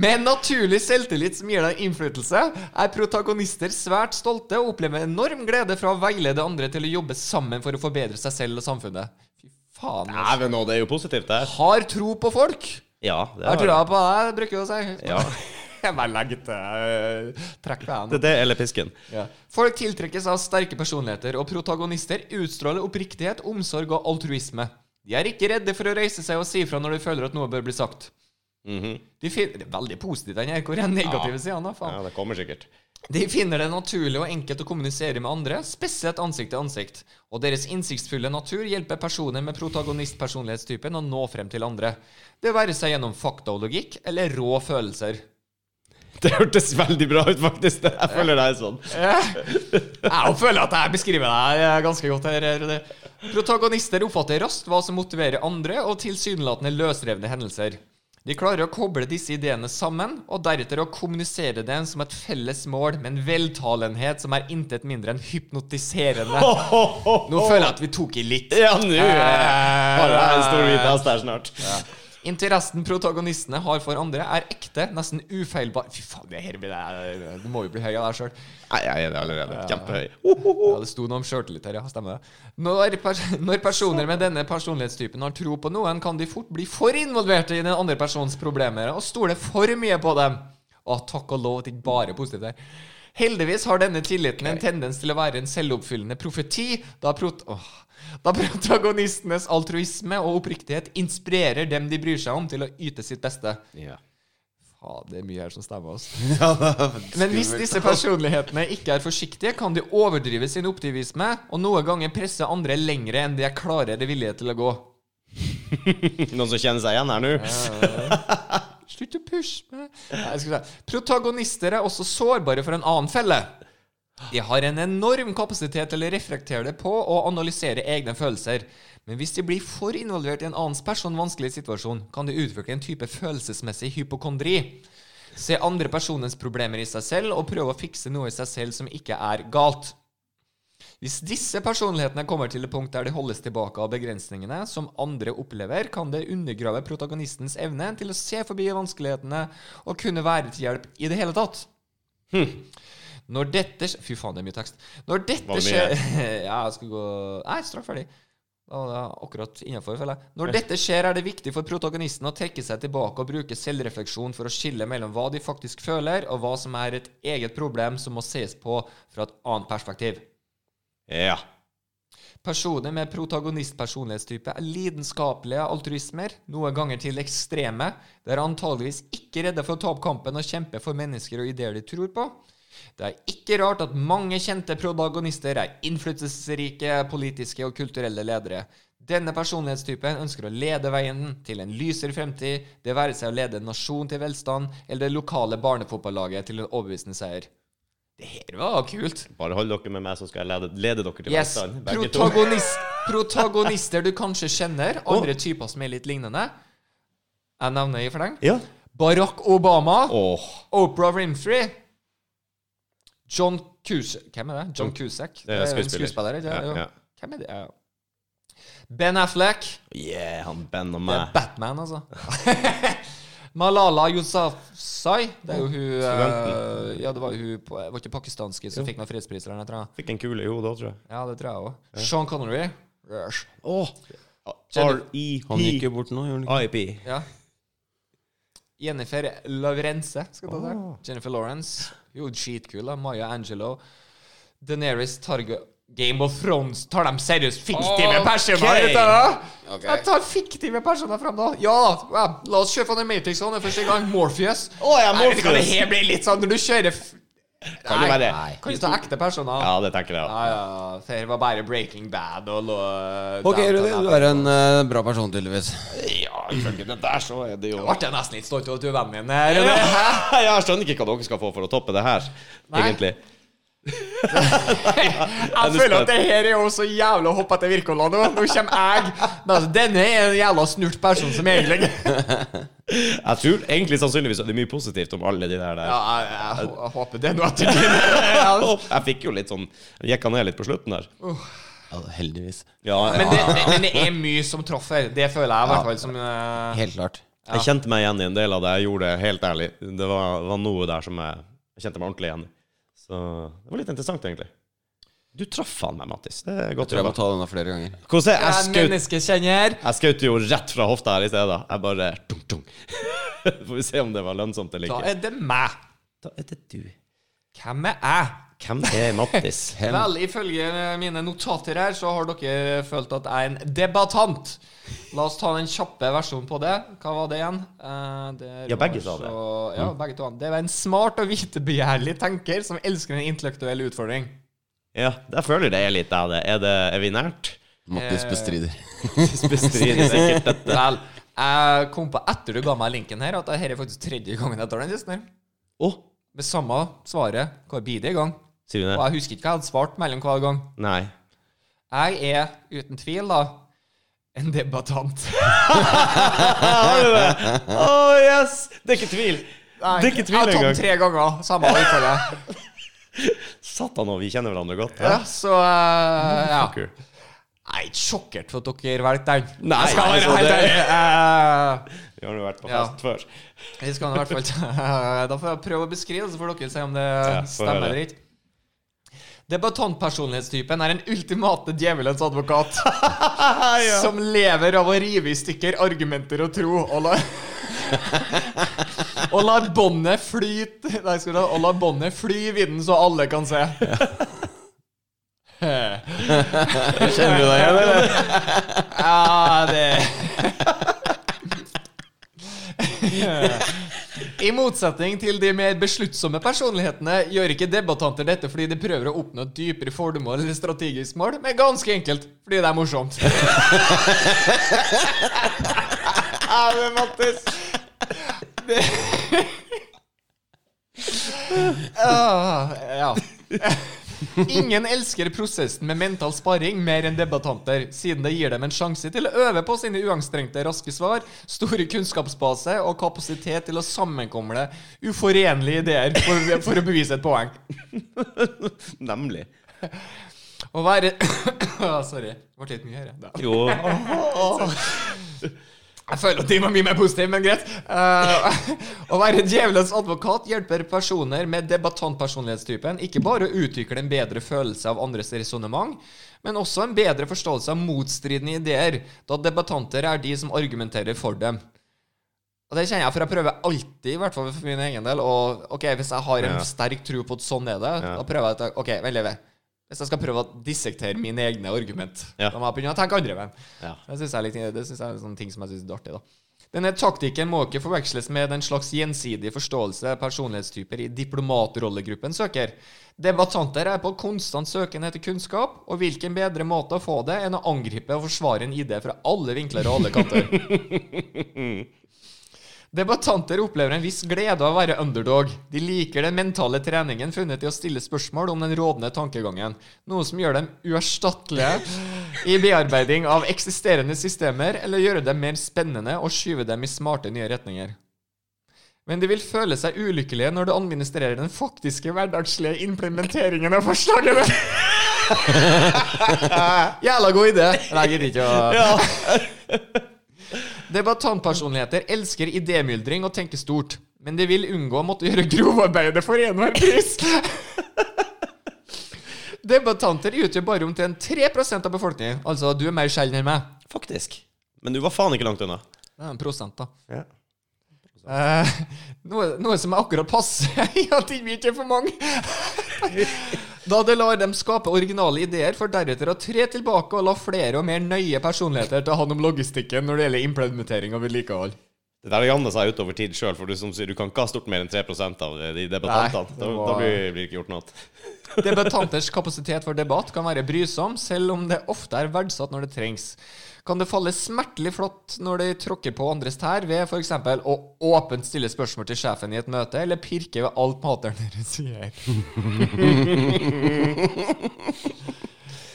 S2: Med en naturlig selvtillit som gir deg innflytelse, er protagonister svært stolte og opplever enorm glede fra å veilede andre til å jobbe sammen for å forbedre seg selv og samfunnet. Fy faen. altså.
S1: Dæven nå, det er jo positivt, det her.
S2: Har tro på folk.
S1: Ja,
S2: Jeg har
S1: det.
S2: trua på deg, bruker jeg å si.
S1: Ja.
S2: Jeg bare legger til eh, Trekk på
S1: Det
S2: deg
S1: er det eller pisken.
S2: nå. Folk tiltrekkes av sterke personligheter, og protagonister utstråler oppriktighet, omsorg og altruisme. De er ikke redde for å reise seg og si fra når de føler at noe bør bli sagt.
S1: Mhm.
S2: De fin det er veldig positivt, den her. Hvor er den negative siden da? Faen.
S1: Ja, det kommer sikkert.
S2: De finner det naturlig og enkelt å kommunisere med andre, spesielt ansikt til ansikt, og deres innsiktsfulle natur hjelper personer med protagonistpersonlighetstypen å nå frem til andre, det være seg gjennom fakta og logikk eller rå følelser.
S1: Det hørtes veldig bra ut, faktisk. Det- Jeg føler deg sånn.
S2: Jeg føler at jeg beskriver deg eh, ganske godt her. Rune. Protagonister oppfatter raskt hva som motiverer andre, og tilsynelatende løsrevne hendelser. De klarer å koble disse ideene sammen, og deretter å kommunisere dem som et felles mål, med en veltalenhet som er intet mindre enn hypnotiserende. Nå føler jeg at vi tok i litt.
S1: Ja, nå eh, har jeg en stor hvit hest her snart.
S2: Interessen protagonistene har for andre, er ekte, nesten ufeilbar Fy faen, det her blir det Du må jo bli høy av deg sjøl.
S1: Nei, jeg er det allerede. Kjempehøy.
S2: Ja, det sto noe om sjøltillit her, ja. Stemmer det. Når, pers når personer med denne personlighetstypen har tro på noen, kan de fort bli for involverte i den andre persons problemer og stole for mye på dem. Å, takk og lov at det ikke bare er positivt her. Heldigvis har denne tilliten en tendens til å være en selvoppfyllende profeti, da, prot åh, da protagonistenes altruisme og oppriktighet inspirerer dem de bryr seg om, til å yte sitt beste.
S1: Ja.
S2: Faen, det er mye her som stemmer, altså.
S3: Ja, det er skummelt.
S2: Men hvis disse personlighetene ikke er forsiktige, kan de overdrive sin optimisme og noen ganger presse andre lengre enn de er klarere villige til å gå.
S1: Noen som kjenner seg igjen her nå?
S2: Slutt å pushe meg. Nei, jeg skulle si. Protagonister er også sårbare for en annen felle. De har en enorm kapasitet til å reflektere det på og analysere egne følelser. Men hvis de blir for involvert i en annens person vanskelig situasjon, kan de utvikle en type følelsesmessig hypokondri. Se andre personens problemer i seg selv og prøve å fikse noe i seg selv som ikke er galt. Hvis disse personlighetene kommer til det punkt der de holdes tilbake av begrensningene som andre opplever, kan det undergrave protagonistens evne til å se forbi vanskelighetene og kunne være til hjelp i det hele tatt. Når dette skj- Fy faen, det er mye tekst. Når
S1: Var
S2: dette
S1: det
S2: skjer
S1: mye?
S2: Ja, jeg skal gå Nei, straks ferdig. Da var det akkurat innenfor, føler jeg. Når dette skjer, er det viktig for protagonisten å trekke seg tilbake og bruke selvrefleksjon for å skille mellom hva de faktisk føler, og hva som er et eget problem som må ses på fra et annet perspektiv.
S1: Ja.
S2: Personer med protagonistpersonlighetstype er lidenskapelige altruismer, noen ganger til ekstreme. De er antageligvis ikke redde for å ta opp kampen og kjempe for mennesker og ideer de tror på. Det er ikke rart at mange kjente protagonister er innflytelsesrike politiske og kulturelle ledere. Denne personlighetstypen ønsker å lede veien til en lysere fremtid, det være seg å lede en nasjon til velstand, eller det lokale barnefotballaget til en overbevisende seier. Det her var kult.
S1: Bare hold dere med meg, så skal jeg lede, lede dere til
S2: Yes.
S1: velstand. Begge to.
S2: Protagonist, protagonister du kanskje kjenner. Andre typer som er litt lignende. Jeg nevner i fleng.
S1: Ja.
S2: Barack Obama.
S1: Åh.
S2: Oprah Winfrey. John Cusack Hvem er det? John Cusack?
S1: Det er
S2: jo en
S1: skuespiller.
S2: skuespiller ikke?
S1: Ja,
S2: Jo.
S1: ja.
S2: Hvem er det? Ja, ja. Ben Affleck.
S1: Yeah, han Ben og
S2: Det er
S1: meg.
S2: Batman, altså. Malala Yousafzai. Det er jo hun eh, Ja, det var jo hun på- Var ikke pakistanske som fikk noen fredspris eller noe? tror jeg.
S1: Fikk en kule i hodet òg, tror jeg.
S2: Ja, det tror jeg òg. Sean Connery. Rush.
S1: Åh.
S2: Jennifer-
S3: Han gikk
S1: R.E.P.
S3: jo bort nå, gjorde han ikke?
S1: IP.
S2: Ja. Jennifer Lavrence, skal jeg ta det. Jennifer Lawrence. Jo, skitkul, da. Maya Angelo. Daenerys Targo... Game of Thrones tar de seriøst fiktive personer ut av det? Jeg tar fiktive personer fram da. Ja, ja, la oss kjøre fra The Matrix sånn det er første gang. Morpheus.
S1: Å, ja,
S2: Nei, det kan det
S1: Morpheus.
S2: her bli litt sånn når du kjører f
S1: Kan det være det?
S2: Nei, Kan du ta ekte personer?
S1: Ja, det tenker jeg.
S2: Ja, ja, ja. Det her var bare Breaking Bad og lo,
S3: Ok, Rudi,
S2: Downton
S3: du er en eh, bra person, tydeligvis.
S1: Ja, ifølge det der, så er det jo
S2: Ble jeg nesten litt stolt over at du er vennen min. her, Rune.
S1: Jeg skjønner ikke hva dere skal få for å toppe det her,
S2: Nei.
S1: egentlig.
S2: Jeg føler at det her er jo så jævla å hoppe etter Wirkola nå. Nå kommer jeg. Men altså, denne er en jævla snurt person som egentlig Ja,
S1: Jeg tror egentlig sannsynligvis at det er mye positivt om alle de der. der.
S2: jeg, jeg, hå- jeg håper det er noe etter din.
S1: Åh, Jeg fikk jo litt sånn Jeg gikk ned litt på slutten der.
S3: Ja, heldigvis.
S1: Ja, ja.
S2: Men det, det, men det er mye som traff her. Det føler jeg i hvert fall som eh,
S3: Helt klart.
S1: Jeg kjente meg igjen i en del av det jeg gjorde, helt ærlig. Det var, var noe der som jeg, jeg kjente meg ordentlig igjen i. Så det var litt interessant, egentlig. Du traff faen meg, Mattis. Det er godt
S3: Tror jeg må
S1: jobba.
S3: ta denne flere ganger.
S1: Hvordan er-
S2: Jeg
S1: Jeg
S2: er
S1: skjøt-
S2: menneskekjenner.
S1: jeg skjøt jo rett fra hofta her i stedet. Jeg bare tung, tung. Får vi se om det var lønnsomt eller
S2: Da
S1: ikke.
S2: er det meg.
S1: Da er det du.
S2: Hvem er jeg?
S1: Hvem er Mattis?
S2: Vel, ifølge mine notater her, så har dere følt at jeg er en debattant. La oss ta den kjappe versjonen på det. Hva var det igjen? Eh, det
S1: Ja,
S2: var
S1: begge sa det. Mm.
S2: så- Ja, begge to. Det var en smart og vitebegjærlig tenker som elsker en intellektuell utfordring.
S1: Ja, jeg føler det er litt av det. Er, det, er vi nært?
S3: Mattis
S2: Eh,
S3: bestrider.
S1: Bestrider sikkert dette.
S2: Vel, jeg kom på etter du ga meg linken her, at dette er faktisk tredje gangen jeg tar den testen her.
S1: Å,
S2: Med samme svaret hver bidige gang.
S1: sier du det?
S2: Og jeg husker ikke hva jeg hadde svart mellom hver gang.
S1: Nei.
S2: Jeg er uten tvil, da, en debattant.
S1: Har du det? Å, yes! Det er ikke tvil.
S2: Nei,
S1: Det er ikke tvil
S2: Jeg har
S1: engang.
S2: tatt tre ganger samme utfallet.
S1: Satan, og vi kjenner hverandre godt.
S2: Ja, så eh, ja.
S1: Fucker.
S2: Jeg er ikke sjokkert for at dere valgte den.
S1: Nei,
S2: jeg skal
S1: altså,
S2: være helt Eh,
S1: det-
S2: ærlig.
S1: Vi har jo vært på
S2: Ja.
S1: fest før.
S2: Eh, Vi skal nå i hvert fall Da får jeg prøve å beskrive, så får dere se om det
S1: Ja, får
S2: stemmer
S1: høre.
S2: eller ikke. Debattantpersonlighetstypen er den ultimate djevelens advokat. Som lever av å rive i stykker argumenter og tro. Og la, og la båndet flyte Nei, skal du ha Og la båndet fly i vinden, så alle kan se.
S3: Kjenner du deg igjen, eller?
S2: Ja, det I motsetning til de mer besluttsomme personlighetene gjør ikke debattanter dette fordi de prøver å oppnå et dypere formål eller strategisk mål, men ganske enkelt fordi det er morsomt.
S1: Æven, Mattis!
S2: Ah, ja. Ingen elsker prosessen med mental sparring mer enn debattanter, siden det gir dem en sjanse til å øve på sine uanstrengte raske svar, store kunnskapsbase og kapasitet til å sammenkomle uforenlige ideer for, for å bevise et poeng.
S1: Nemlig.
S2: Å være Ah, Sorry. Det ble litt mye her. ja.
S1: Jo.
S2: Jeg føler at de var mye mer positive, men greit. Eh, å være djevelens advokat hjelper personer med debattantpersonlighetstypen ikke bare å utvikle en bedre følelse av andres resonnement, men også en bedre forståelse av motstridende ideer, da debattanter er de som argumenterer for dem. Og det kjenner jeg, for jeg prøver alltid, i hvert fall for min egen del, og ok, hvis jeg har en
S1: Ja.
S2: sterk tro på at sånn er det,
S1: Ja.
S2: da prøver jeg at jeg- Ok, vent litt. Hvis jeg skal prøve å dissektere mine egne argument,
S1: Ja.
S2: da må jeg begynne å tenke andre veien.
S1: Ja.
S2: Det synes jeg, er litt- det synes jeg er en sånn ting som jeg synes er artig, da. Denne taktikken må ikke forveksles med den slags gjensidig forståelse personlighetstyper i diplomatrollegruppen søker. Debattanter er på konstant søken etter kunnskap, og hvilken bedre måte å få det enn å angripe og forsvare en idé fra alle vinkler og alle kanter. Debattanter opplever en viss glede av å være underdog. De liker den mentale treningen funnet i å stille spørsmål om den rådende tankegangen, noe som gjør dem uerstattelige i bearbeiding av eksisterende systemer, eller gjøre dem mer spennende og skyve dem i smarte nye retninger. Men de vil føle seg ulykkelige når de administrerer den faktiske hverdagslige implementeringen av forslagene. Jævla god idé. Nei, jeg gidder ikke å Debattantpersonligheter elsker idémyldring og tenker stort, men de vil unngå å måtte gjøre grovarbeidet for enhver pris. Debattanter utgjør bare omtrent 3 av befolkningen. Altså, du er mer sjelden enn meg.
S1: Faktisk. Men du var faen ikke langt unna.
S2: Det er en prosent, da.
S1: Ja.
S2: Eh, noe, noe som er akkurat passe i at det ikke er for mange. da det lar dem skape originale ideer, for deretter å tre tilbake og la flere og mer nøye personligheter ta hånd om logistikken når det gjelder implementering og vedlikehold.
S1: Det der janner seg utover tid sjøl, for du som sier du kan ikke ha stort mer enn 3 av de debattantene.
S2: Nei, det
S1: Da,
S2: var-
S1: da blir blir det ikke gjort noe.
S2: Debattanters kapasitet for debatt kan være brysom, selv om det ofte er verdsatt når det trengs. Kan det falle smertelig flott når de tråkker på andres tær, ved f.eks. å åpent stille spørsmål til sjefen i et møte, eller pirke ved alt materen deres sier?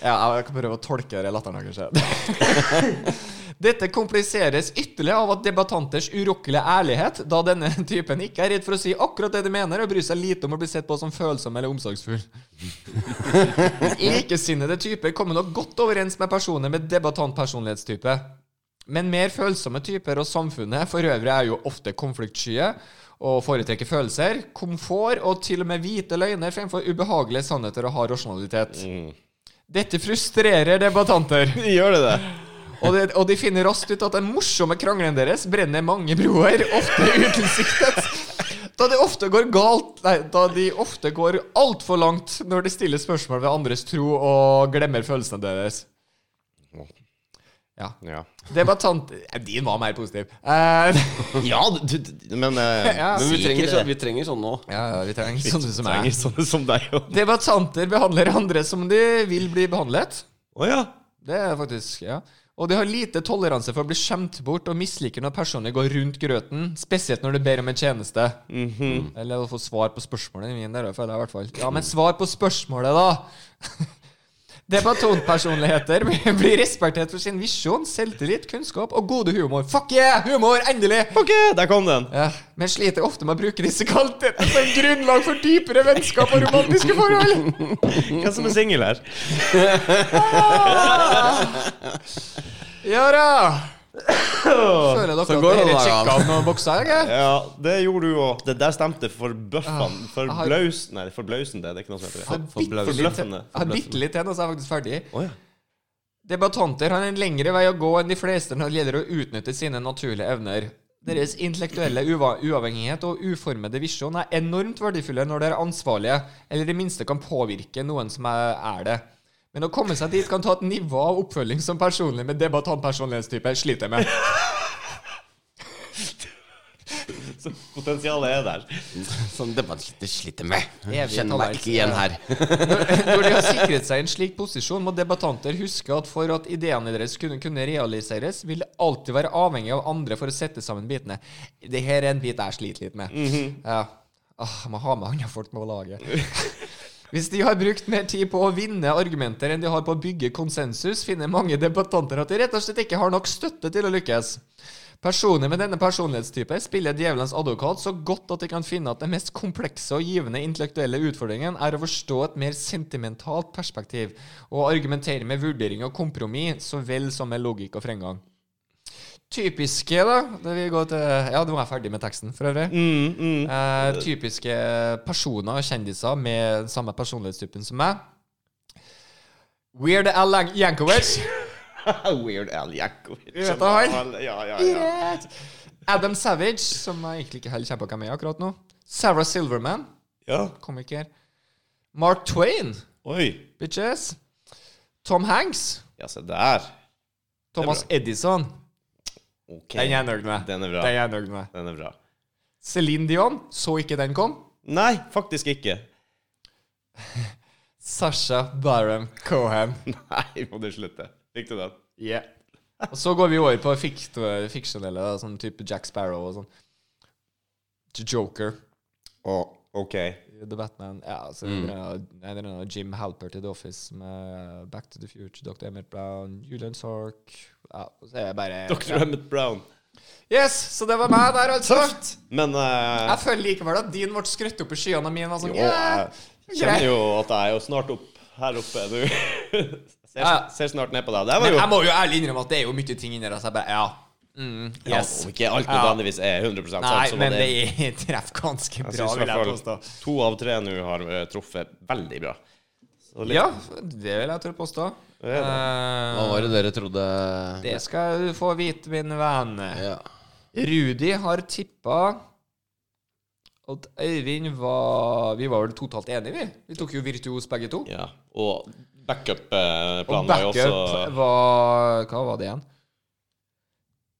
S2: ja, jeg kan prøve å tolke den latteren her, kanskje. Dette kompliseres ytterligere av at debattanters urokkelige ærlighet, da denne typen ikke er redd for å si akkurat det de mener, og bryr seg lite om å bli sett på som følsom eller omsorgsfull. Likesinnede typer kommer nok godt overens med personer med debattantpersonlighetstype. Men mer følsomme typer og samfunnet for øvrig er jo ofte konfliktskye og foretrekker følelser, komfort og til og med hvite løgner fremfor ubehagelige sannheter og hard rasjonalitet. Dette frustrerer debattanter.
S1: Gjør det det?
S2: Og, det, og de finner raskt ut at den morsomme krangelen deres brenner mange broer, ofte utilsiktet. Da det ofte går galt Nei, da de ofte går altfor langt når de stiller spørsmål ved andres tro og glemmer følelsene deres. Ja.
S1: Ja.
S2: Debattant... Eh, Din var mer positiv. Eh,
S1: ja du, du, men eh,
S2: Ja.
S3: Men vi
S1: si
S3: trenger,
S1: ikke
S3: sånn,
S1: det.
S3: vi trenger sånn nå.
S2: ja, ja, vi trenger sånne Sånn som
S1: trenger
S2: meg.
S1: sånne som deg òg.
S2: Debattanter behandler andre som de vil bli behandlet.
S1: Å ja.
S2: Det er faktisk, ja. Og de har lite toleranse for å bli skjemt bort og misliker når personer går rundt grøten, spesielt når du ber om en tjeneste. Eller å få svar på spørsmålet mine, det er det, føler jeg i hvert fall. Ja, men svar på spørsmålet, da! Debattantpersonligheter blir respektert for sin visjon, selvtillit, kunnskap og gode humor. Fuck yeah! Humor! Endelig!
S1: OK, der kom den.
S2: Ja, men sliter ofte med å bruke disse kvalitetene som grunnlag for dypere vennskap og romantiske forhold.
S1: Hvem som er singel her?
S2: Ja da! Føler dere
S3: Så
S2: at
S3: går det
S2: dere
S3: noen dager.
S2: sjekka av noen bokser? Ikke?
S1: Ja, det gjorde du Ah, òg. Det der stemte forbøffende. Forblausende. Nei, forblausende. Det er ikke noe som heter det.
S2: Jeg har bitte-
S1: Forbløffende.
S2: Jeg har bitte litt igjen, og så er jeg faktisk ferdig.
S1: Å ja.
S2: Debattanter har en lengre vei å gå enn de fleste når det gjelder å utnytte sine naturlige evner. Deres intellektuelle uva- uavhengighet og uformede visjon er enormt verdifulle når de er ansvarlige, eller i det minste kan påvirke noen som er er det. Men å komme seg dit kan ta et nivå av oppfølging som personlig med debattantpersonlighetstype sliter med.
S1: Så Potensialet er der.
S3: Sånn det man sliter, sliter med.
S2: Evig
S3: Kjenner meg
S2: tolerance.
S3: ikke igjen her.
S2: Når de har sikret seg en slik posisjon, må debattanter huske at for at ideene deres kunne, kunne realiseres, vil det alltid være avhengig av andre for å sette sammen bitene. Det her er en bit jeg sliter litt med.
S3: Mhm.
S2: Ja. Åh, jeg må ha med andre folk med på laget. Hvis de har brukt mer tid på å vinne argumenter enn de har på å bygge konsensus, finner mange debattanter at de rett og slett ikke har nok støtte til å lykkes. Personer med denne personlighetstype spiller djevelens advokat så godt at de kan finne at den mest komplekse og givende intellektuelle utfordringen er å forstå et mer sentimentalt perspektiv, og argumentere med vurdering og kompromiss så vel som med logikk og fremgang. Typiske, da det vil gå til, Ja, nå er jeg ferdig med teksten, for øvrig. Eh, typiske personer og kjendiser med samme personlighetstypen som meg. Weird Al Yankovic.
S1: Weird Al Jankovic.
S2: vet da han.
S1: Ja, ja, ja.
S2: Adam Savage, som jeg egentlig ikke helt kjenner på hvem er akkurat nå. Sarah Silverman,
S1: ja.
S2: komiker. Mark Twain,
S1: Oi.
S2: bitches. Tom Hanks.
S1: Ja, se der.
S2: Thomas Edison.
S1: Ok.
S2: Den er jeg nøyd med.
S1: Den er bra.
S2: Den er jeg nøyd med.
S1: Den er bra.
S2: Céline Dion, så ikke den kom.
S1: Nei, faktisk ikke.
S2: Sasha Baron Cohen.
S1: Nei, må du slutte. Fikk du den?
S2: Yeah. Og så går vi over på fikt fiksjonelle, da, sånn type Jack Sparrow og sånn. Joker.
S1: Å, ok.
S2: The Batman Ja, altså,
S1: Mm.
S2: så det er nei, det er noe Jim Halpert i The Office med Back to the Future, Dr. Emmett Brown, Julian Sark Ja, og så er jeg bare
S1: Dr. Emmett Brown.
S2: Yes! Så det var meg der, altså.
S1: Men eh,
S2: Jeg føler likevel at din ble skrøtt opp i skyene, og min var sånn
S1: jo,
S2: yeah.
S1: jeg kjenner jo at jeg er jo snart opp her oppe nå. Ser,
S2: Ja.
S1: ser snart ned på deg. Det
S2: Men
S1: var jo
S2: jeg må jo ærlig innrømme at det er jo mye ting inni der, så jeg bare Ja. Mm,
S1: Ja,
S2: yes.
S1: og ikke alt nødvendigvis er 100 sant.
S2: Nei,
S1: så var
S2: men det treffer ganske
S1: Jeg
S2: bra,
S1: synes i
S2: vil jeg
S1: hvert
S2: påstå.
S1: fall to av tre nå har eh, truffet veldig bra. Så litt-
S2: Ja, det vil jeg tørre påstå.
S1: Det er det.
S2: Eh,
S3: Hva var det dere trodde
S2: det skal du få vite, min venn.
S3: Ja.
S2: Rudi har tippa at Øyvind var Vi var vel totalt enige, vi? Vi tok jo virtuos begge to.
S1: Ja. Og backup-planen
S2: Og
S1: var jo
S2: backup
S1: også
S2: var Hva var det igjen?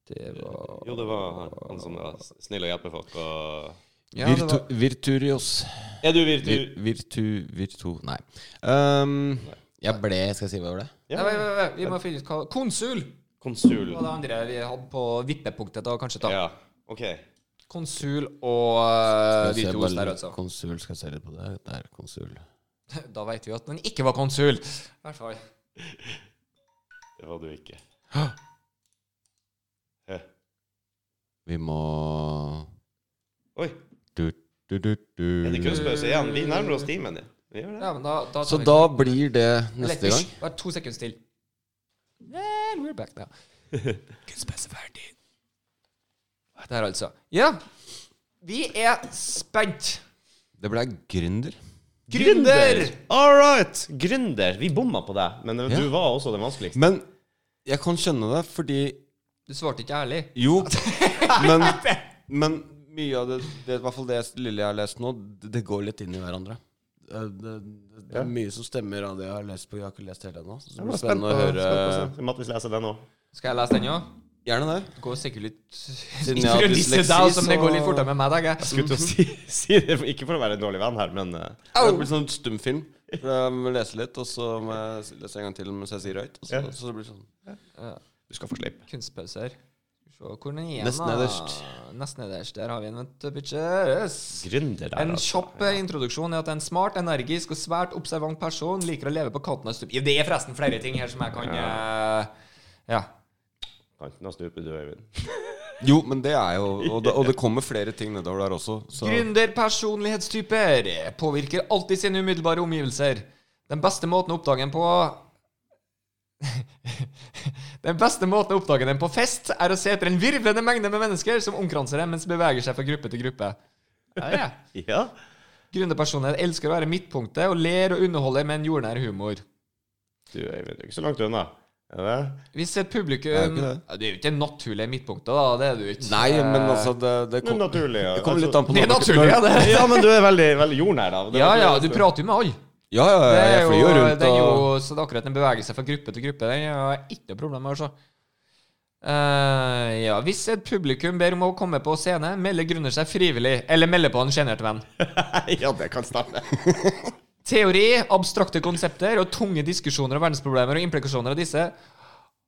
S2: Det var
S1: Jo, det var han som var snill og hjelper folk og
S2: ja, det var
S3: Virturios.
S1: Er du virtu...
S3: Vir, virtu... Virtu... Nei. Ehm, jeg ble Skal jeg si hva det ble?
S2: Nei,
S1: Ja,
S2: vent, vent, vent, vi må finne ut hva Konsul
S1: konsul.
S2: var det andre vi hadde på vippepunktet. da, kanskje ta.
S1: Ja, OK.
S2: Konsul og uh,
S3: Skal jeg se
S2: virtuos
S3: bare-
S2: der, altså.
S3: Konsul, skal jeg se litt på det? Der, konsul.
S2: Da veit vi at den ikke var konsul. I hvert fall.
S1: Det var du ikke. Hæ?
S3: Vi må
S1: Oi,
S3: du, du, du,
S1: er det
S3: du.
S1: kunstpause igjen? Vi nærmer oss timen, ja. Vi gjør det.
S2: Ja, men da, da tar
S3: Så
S2: vi-
S3: da blir det neste
S2: Eller,
S3: gang.
S2: hysj, Bare to sekunder til. And we're back now. Kunstmesse ferdig. Der, altså. Ja. Vi er spent.
S3: Det ble gründer.
S2: Gründer!
S1: All right! Gründer. Vi bomma på deg, men eh,
S3: Ja.
S1: du var også den vanskeligste.
S3: Men jeg kan skjønne det, fordi
S2: Du svarte ikke ærlig.
S3: Jo, men, men mye av det, det I hvert fall det lille jeg har lest nå, det, det går litt inn i hverandre. Det, det, det, det er mye som stemmer av det jeg har lest på. Jeg har ikke lest hele ennå. så Det blir spennende å høre.
S1: Så Mattis leser den òg.
S2: Skal jeg lese den òg?
S3: Gjerne det.
S2: Det går sikkert litt
S3: jeg
S2: Ikke
S3: har
S2: for å disse
S3: dysleksi,
S2: deg, som det
S3: så-
S2: går litt fortere med meg, da. jeg.
S1: Skulle til å si, si det, ikke for å være en dårlig venn her, men eh,
S2: Au!
S3: Det blir sånn stumfilm. For jeg må lese litt, og så må jeg lese en gang til mens jeg sier høyt. Og så,
S1: Ja.
S3: så det blir sånn
S1: du skal få slippe.
S2: Kunstpauser. Skal vi Se hvor den er igjen,
S3: Nesten
S2: da.
S3: nederst.
S2: Nesten nederst. Der har vi den, vet du, bitches.
S1: Gründer der,
S2: En
S1: altså.
S2: kjapp eh, introduksjon er at en smart, energisk og svært observant person liker å leve på kanten av stupet. Det er forresten flere ting her som jeg kan eh, Ja.
S1: Kanten av stupet, du, Øyvind.
S3: Jo, men det er jo Og det, og det kommer flere ting nedover der også. Så
S2: Gründerpersonlighetstyper påvirker alltid sine umiddelbare omgivelser. Den beste måten å oppdage en på Den beste måten å oppdage den på fest, er å se etter en virvlende mengde med mennesker som omkranser dem mens de beveger seg fra gruppe til gruppe. Ja, ja.
S1: Ja?
S2: Gründerpersonlighet elsker å være midtpunktet og ler og underholder med en jordnær humor.
S1: Du, Øyvind, du er ikke så langt unna. Er det?
S2: Hvis et
S3: Det er jo
S2: publikum
S3: ikke det.
S2: Ja, Det er jo ikke naturlige midtpunkter, da. Det er det jo ikke. Eh,
S3: Nei, men altså Det, det,
S1: Det er
S3: kom,
S1: naturlig. Ja. Altså-
S3: det kommer litt an på
S2: Det er
S3: når-
S2: naturlig, ja. Det.
S1: Ja, men du er veldig, veldig jordnær, da. Det
S2: Ja
S1: var-
S2: ja, du prater jo med alle.
S3: Ja, ja,
S2: Det
S3: ja,
S2: er
S3: jeg
S2: jo,
S3: flyr jo rundt
S2: det er
S3: og
S2: jo så det er akkurat en bevegelse fra gruppe til gruppe. Den har jeg ikke noe problem med, altså. Eh, ja, hvis et publikum ber om å komme på scene, melder grunner seg frivillig, eller melder på en sjenert venn.
S1: ja, det kan stemme.
S2: Teori, abstrakte konsepter og tunge diskusjoner om verdensproblemer og implikasjoner av disse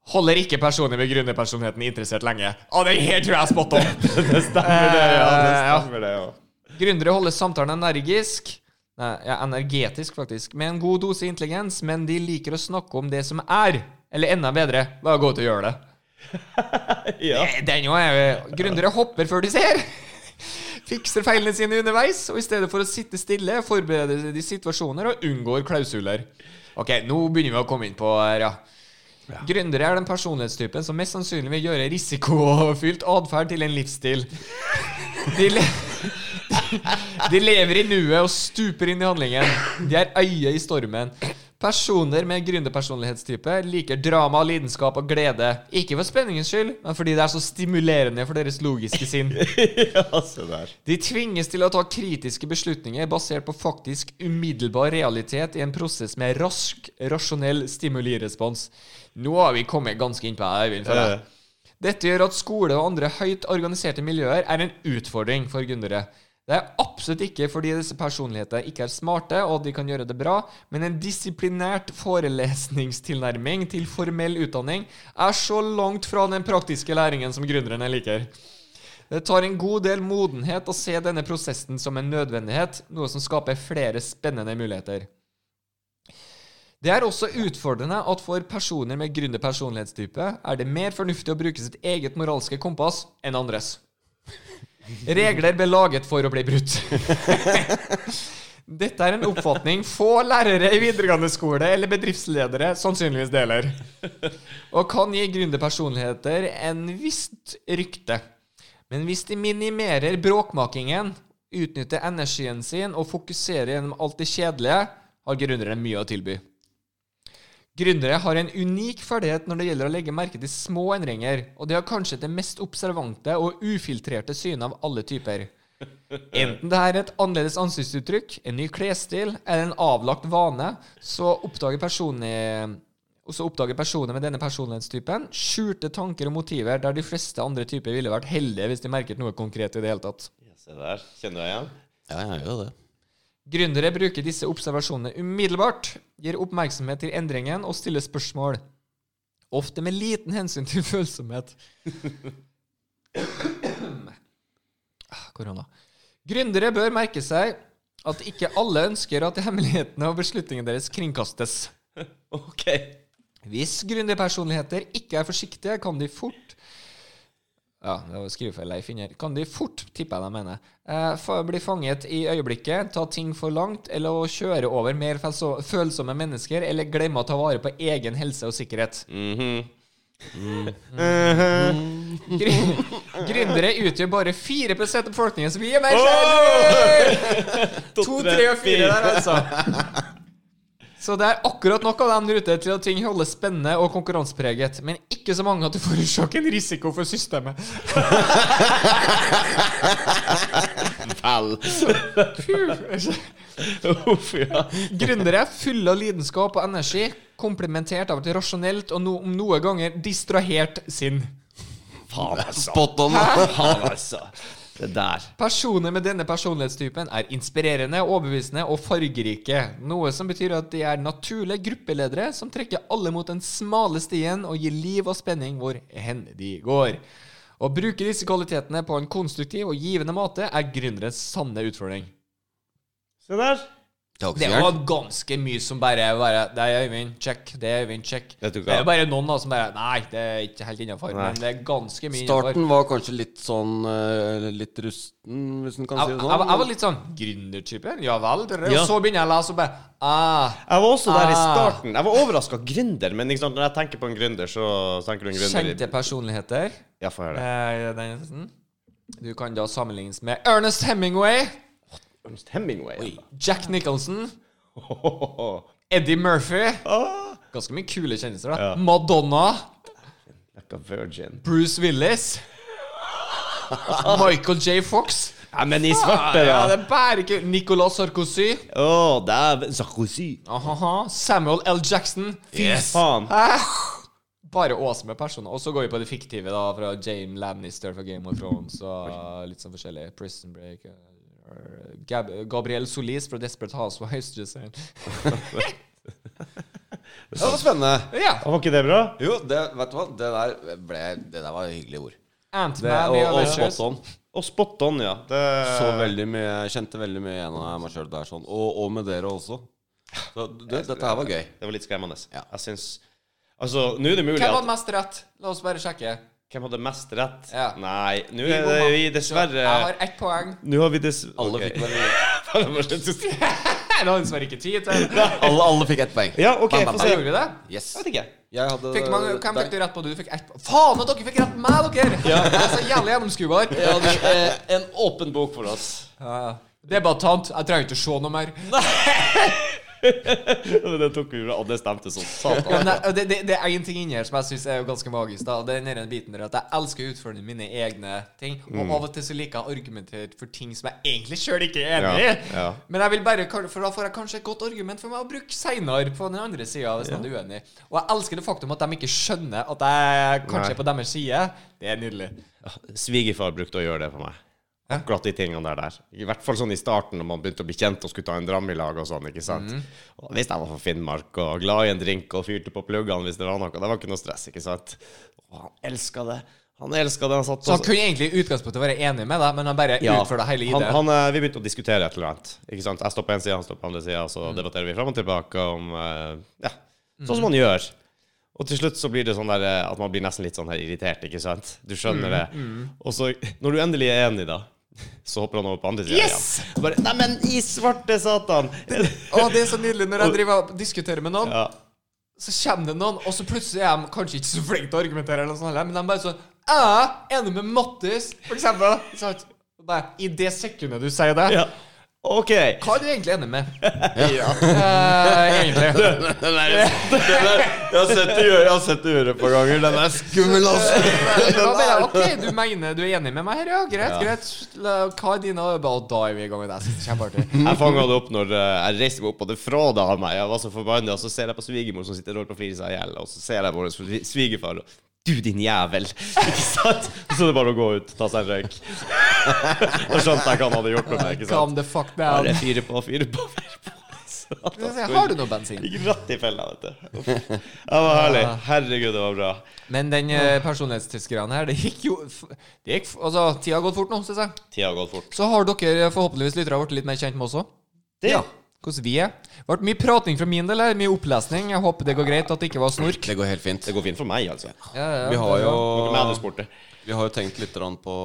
S2: holder ikke personer med grunnepersonligheten interessert lenge. Og det her tror jeg er spot on!
S1: Det stemmer, det. ja, det
S2: Eh, ja.
S1: stemmer det, ja.
S2: Gründere holder samtalen energisk Nei, ja, energetisk, faktisk. Med en god dose intelligens, men de liker å snakke om det som er. Eller enda bedre, bare gå ut og gjøre det.
S1: Ja.
S2: Eh, Den jo er Gründere hopper før de ser. Fikser feilene sine underveis, og i stedet for å sitte stille, forbereder de situasjoner og unngår klausuler. Ok, nå begynner vi å komme inn på her, ja. Gründere er den personlighetstypen som mest sannsynlig vil gjøre risikofylt atferd til en livsstil. De, le de lever i nuet og stuper inn i handlingen. De er øyet i stormen. Personer med gründerpersonlighetstype liker drama, lidenskap og glede. Ikke for spenningens skyld, men fordi det er så stimulerende for deres logiske sinn.
S1: ja, se der.
S2: De tvinges til å ta kritiske beslutninger basert på faktisk umiddelbar realitet i en prosess med rask, rasjonell stimulirespons. Nå har vi kommet ganske innpå her, Eivind. føler jeg.
S1: Eh,
S2: Dette gjør at skole og andre høyt organiserte miljøer er en utfordring for gründere. Det er absolutt ikke fordi disse personlighetene ikke er smarte og de kan gjøre det bra, men en disiplinært forelesningstilnærming til formell utdanning er så langt fra den praktiske læringen som gründerne liker. Det tar en god del modenhet å se denne prosessen som en nødvendighet, noe som skaper flere spennende muligheter. Det er også utfordrende at for personer med grunnet personlighetstype er det mer fornuftig å bruke sitt eget moralske kompass enn andres. Regler ble laget for å bli brutt. Dette er en oppfatning få lærere i videregående skole eller bedriftsledere sannsynligvis deler, og kan gi grunnet personligheter en visst rykte. Men hvis de minimerer bråkmakingen, utnytter energien sin og fokuserer gjennom alt det kjedelige, har gründere mye å tilby. Gründere har en unik ferdighet når det gjelder å legge merke til små endringer, og de har kanskje det mest observante og ufiltrerte synet av alle typer. Enten det er et annerledes ansiktsuttrykk, en ny klesstil eller en avlagt vane, så oppdager personer og så oppdager personer med denne personlighetstypen skjulte tanker og motiver der de fleste andre typer ville vært heldige hvis de merket noe konkret i det hele tatt.
S1: ja, se der. Kjenner du deg igjen?
S3: Ja, jeg gjør jo det.
S2: Gründere bruker disse observasjonene umiddelbart, gir oppmerksomhet til endringen og stiller spørsmål. Ofte med liten hensyn til følsomhet. Ah, Korona. Gründere bør merke seg at ikke alle ønsker at hemmelighetene og beslutningene deres kringkastes.
S1: OK.
S2: Hvis gründerpersonligheter ikke er forsiktige, kan de fort Ja, det var skrivefeil jeg finner. Kan de fort, tipper jeg de mener, eh, fa- bli fanget i øyeblikket, ta ting for langt, eller å kjøre over mer felso- følsomme mennesker, eller glemme å ta vare på egen helse og sikkerhet.
S1: Mhm.
S2: Gry- Gründere utgjør bare 4 av befolkningen, så vi er mer skjermet! To, tre og fire der, altså. Så det er akkurat nok av dem ute til at ting holdes spennende og konkurransepreget, men ikke så mange at det forårsaker en risiko for systemet. Puh.
S1: Uff, ja.
S2: Gründere er fulle av lidenskap og energi, komplementert av et rasjonelt og no om noe ganger distrahert sinn.
S1: Faen, altså.
S3: Spot on! da.
S1: Faen, altså. Det der.
S2: Personer med denne personlighetstypen er inspirerende, overbevisende og fargerike, noe som betyr at de er naturlige gruppeledere som trekker alle mot den smale stien og gir liv og spenning hvor hen de går. Å bruke disse kvalitetene på en konstruktiv og givende måte er gründeres sanne utfordring.
S1: Se der.
S3: Takk
S2: Det
S3: skal du ha.
S2: var ganske mye som bare, bare Det er Øyvind, check. Det er Øyvind, check.
S1: Vet du
S2: Det
S1: hva?
S2: er jo bare noen da som bare Nei, det er ikke helt innafor,
S1: Nei.
S2: men det er ganske mye innenfor.
S3: Starten var kanskje litt sånn eh, Litt rusten, hvis en kan si
S2: Jeg,
S3: det
S2: jeg, jeg var
S3: sånn.
S2: litt sånn gründertype. Ja vel. dere»,
S1: Ja.
S2: Og så begynner jeg å lese og bare ah,
S1: Jeg var også der i
S2: Ah.
S1: starten. Jeg var overraska gründer, men ikke sant, når jeg tenker på en gründer, så tenker du en gründer
S2: Kjente personligheter.
S1: Ja, få høre det.
S2: Eh, den, sånn. du kan da sammenlignes med Ernest Hemingway,
S1: Ernst Hemingway.
S2: Jack Nicholson,
S1: Ah.
S2: Eddie Murphy Ganske mye kule kjendiser. da
S1: Ja.
S2: Madonna,
S1: Like a virgin.
S2: Bruce Willis, Michael J. Fox.
S1: Ja, men i svarte,
S2: ja,
S1: da.
S2: det er bare ikke Nicolas Sarkozy.
S1: Å, dæven. Sarkozy.
S2: Ahaha. Samuel L. Jackson.
S1: Fy faen.
S2: Hæ? bare awesome personer. Og så går vi på det fiktive, da, fra Jane Lannister fra Game of Thrones og uh, litt sånn forskjellig. Prison Break uh, or Gab Gabriel Solis fra Desperate Housewives. Just saying.
S3: Det var spennende.
S2: Ja!
S1: Var ikke det bra?
S3: Jo, det, vet du hva? Det der, ble, det der var hyggelige ord. Det,
S2: Ant-Man
S3: og,
S2: i
S3: og
S2: Avengers.
S3: spot on.
S1: Og spot on, ja. Det,
S3: Så veldig mye, jeg kjente veldig mye gjennom meg sjøl der, sånn. Og, og med dere også. Så du, dette her var gøy.
S1: det var litt skremmende.
S3: Ja.
S1: Jeg syns Altså, nå er det mulig
S2: Hvem
S1: at
S2: hadde mest rett? La oss bare sjekke.
S1: Hvem hadde mest rett?
S2: Ja.
S1: Nei, nå er det vi dessverre
S2: Jeg har ett poeng.
S1: Nå har vi dess...
S3: Alle
S1: Ok.
S3: fikk vel
S1: Faen, jeg må slutte å si-
S2: Det hadde dessverre ikke tid til.
S3: Alle, alle fikk ett poeng.
S1: Ja, OK,
S3: Bam, bam,
S1: få
S2: Så
S1: se.
S2: gjorde vi det.
S3: Yes.
S1: Jeg vet ikke.
S3: Jeg hadde
S2: Fikk man, hvem fikk
S3: deg.
S2: du rett på? Du fikk ett Faen at dere fikk rett på meg, dere! Jeg er så jævlig gjennomskuebar.
S1: Ja, du, eh, en åpen bok for oss.
S2: Debattant. Jeg trenger ikke se noe mer.
S1: det tok vi bra, og det stemte sånn.
S2: Ja,
S1: Satan.
S2: nei, og det, det, det er én ting inni her som jeg syns er jo ganske magisk. da og Det er den biten der at Jeg elsker å utfordre mine egne ting. Og
S1: Mm.
S2: av og til så liker jeg å argumentere for ting som jeg egentlig sjøl ikke er enig i.
S1: Ja, ja.
S2: Men jeg vil bare, for da får jeg kanskje et godt argument for meg å bruke seinere på den andre sida hvis man er uenig. Og jeg elsker det faktum at de ikke skjønner at jeg kanskje
S1: Nei.
S2: er på deres side. Det er nydelig.
S1: Svigerfar brukte å gjøre det for meg. Akkurat de tingene der, der. I hvert fall sånn i starten, når man begynte å bli kjent og skulle ta en dram i lag og sånn. ikke sant? Og Hvis jeg var fra Finnmark og glad i en drink og fyrte på pluggene hvis det var noe, det var ikke noe stress, ikke sant? Og han elska det. Han elska det. Han satt
S2: Så han kunne egentlig i utgangspunktet være enig med deg, men han bare
S1: Ja.
S2: utfører hele
S1: Han,
S2: ideen.
S1: han, eh, vi begynte å diskutere et eller annet. Ikke sant? Jeg står på en side, han står på andre sida, så
S2: Mm.
S1: debatterer vi fram og tilbake om eh, Ja, sånn som man gjør. Og til slutt så blir det sånn der eh, at man blir nesten litt sånn her irritert, ikke sant? Du
S2: Mm,
S1: skjønner det. Og så, når du endelig er enig, da, så hopper han over på andre sida
S2: Yes!
S1: igjen. Bare Neimen, i svarte satan!
S2: Å, det er så nydelig når jeg driver og diskuterer med noen.
S1: ja.
S2: Så kommer det noen, og så plutselig er de kanskje ikke så flinke til å argumentere, eller noe sånt, heller, men de bare sånn Jeg er enig med Mattis, for eksempel. Ikke sant? Bare, I det sekundet du sier det,
S1: ja. OK.
S2: hva er du egentlig enig med?
S1: Ja.
S2: Eh, egentlig.
S3: Den der, den der, jeg har sett det gjøre, jeg har sett det gjøre et par ganger. Den er skummel, altså.
S2: Da bare, OK, du mener du er enig med meg her, ja? Greit, greit. La- Hva er dine Og bare, Da er vi i gang med det. Jeg synes det er Kjempeartig.
S1: Jeg fanga det opp når eh, jeg reiste meg opp, og det fråda han meg. Jeg var så forbanna. Og så ser jeg på svigermor som sitter og holder på å flire seg i hjel, og så ser jeg på svi- svigerfar og Du, din jævel! Ikke sant? Så det er bare å gå ut, ta seg en røyk. Da skjønte jeg hva han hadde gjort med meg. ikke sant?
S2: Calm the fuck
S1: Bare
S2: down.
S1: fyre på, fyre på, fyre på. Så at han
S2: Har du
S1: skulle-
S2: noe bensin?
S1: Gikk rett i fella, vet du. Uff. Det var herlig.
S2: Ah.
S1: Herregud, det var bra.
S2: Men den eh, personlighetstyskeren her, det gikk jo f- det gikk, f- Altså, tida har gått fort nå, syns jeg.
S1: Tida har gått fort.
S2: Så har dere eh, forhåpentligvis lyttere blitt litt mer kjent med også.
S1: Det,
S2: Ja. Hvordan vi er. Det ble mye prating fra min del her, mye opplesning. Jeg håper det går greit, at det ikke var snork.
S3: Det går helt fint.
S1: det går fint for meg, altså.
S2: Ja, ja,
S3: Vi har jo,
S1: Noe med du spurte.
S3: vi har jo tenkt litt grann på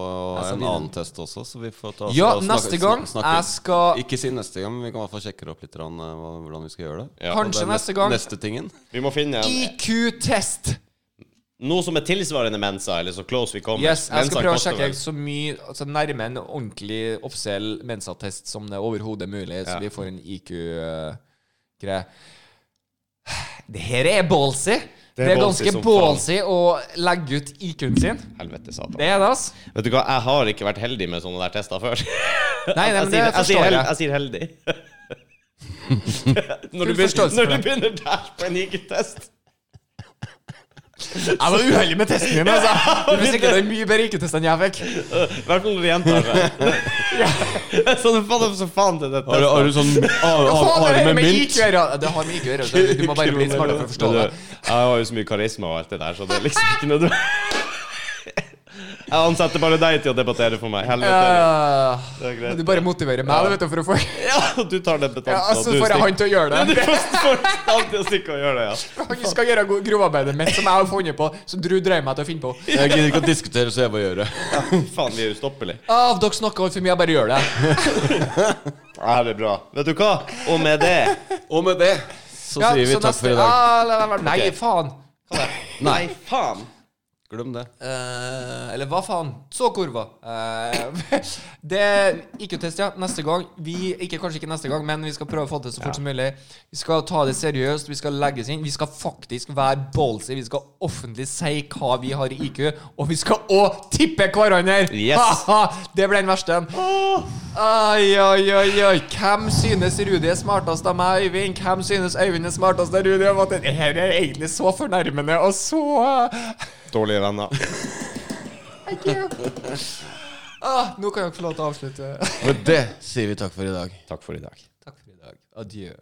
S3: en annen test også, så vi får ta
S2: Ja,
S3: så da
S2: neste gang.
S3: snakke-
S2: Jeg skal
S3: Ikke si neste gang, men vi kan i hvert fall sjekke opp litt grann, eh, hva- hvordan vi skal gjøre det.
S1: Ja.
S2: Kanskje
S3: Det er
S2: neste gang.
S3: Neste tingen.
S1: Vi må finne en
S2: IQ-test.
S1: Noe som er tilsvarende Mensa, eller så close vi kommer.
S2: Yes, jeg
S1: Mensa
S2: skal prøve å
S1: koster
S2: sjekke
S1: vel-
S2: så mye altså nærme en ordentlig offisiell mensatest som det er overhodet mulig, så
S1: Ja.
S2: vi får en IQ-greie. Det her er ballsy. Det er,
S1: ballsy
S2: ganske
S1: som
S2: ballsy å legge ut IQ-en sin.
S1: Helvete, satan.
S2: Det er det, altså.
S1: Vet du hva, jeg har ikke vært heldig med sånne der tester før.
S2: Nei, nei,
S1: jeg,
S2: men det
S1: sier, jeg, sier
S2: forstår
S1: hel,
S2: jeg.
S1: jeg sier heldig. når,
S2: Full
S1: du begynner,
S2: forståelse for
S1: når du
S2: det.
S1: begynner der på en IQ-test
S2: Jeg var uheldig med testen din, altså. Du fikk sikkert en mye bedre IQ-test enn jeg fikk.
S1: I hvert fall når du gjentar det. Sånn faen så faen til det
S3: Har du, har du sånn har,
S2: Hva
S3: har,
S2: faen er
S3: har du
S2: det
S3: med
S2: med
S3: mynt?
S2: IQ å gjøre? Det har med IQ å gjøre, så du må bare bli smartere for å forstå det.
S1: Jeg har jo så mye karisma og alt det der, så det er liksom ikke nødvendig. Jeg ansetter bare deg til å debattere for meg. Helvete.
S2: Uh,
S1: Det er greit.
S2: du bare motiverer meg, du vet du, for å få
S1: Ja, du tar den betanten,
S2: Ja, altså,
S1: og du
S2: får jeg han til å gjøre
S1: Du
S2: det.
S1: får han til å stikke og gjøre det, ja.
S2: Han skal gjøre go- grovarbeidet mitt, som jeg har funnet på, som du drev meg til å finne på.
S3: Jeg gidder ikke å diskutere, så jeg bare gjør det.
S1: Faen, vi er ustoppelige.
S2: Av dere snakker altfor mye, jeg bare gjør det.
S1: Ja, det er bra. Vet du hva? Og med det
S3: Og med det så
S2: Ja,
S3: sier vi
S2: så
S3: takk
S2: neste-
S3: for i dag.
S2: Ah, la- la- la- Nei, faen.
S1: Nei, faen! Glem det.
S2: Eh, eller hva faen? Så kurva! Eh, det IQ-test, ja. Neste gang. Vi, ikke, kanskje ikke neste gang, men vi skal prøve å få til så fort som mulig. Vi skal ta det seriøst. Vi skal legges inn. Vi skal faktisk være ballsy. Vi skal offentlig si hva vi har i IQ, og vi skal òg tippe hverandre!
S1: Yes.
S2: Haha, det ble den verste. Oi, oi, oi, oi. Hvem synes Rudi er smartest av meg og Øyvind? Hvem synes Øyvind er smartest av Rudi? Og at Det her er egentlig så fornærmende og så
S1: Dårlige venner.
S2: Thank you. Ah, nå kan dere få lov til å avslutte.
S3: Og det sier vi takk for i dag.
S1: Takk for i dag.
S2: Takk for i dag. Adjø.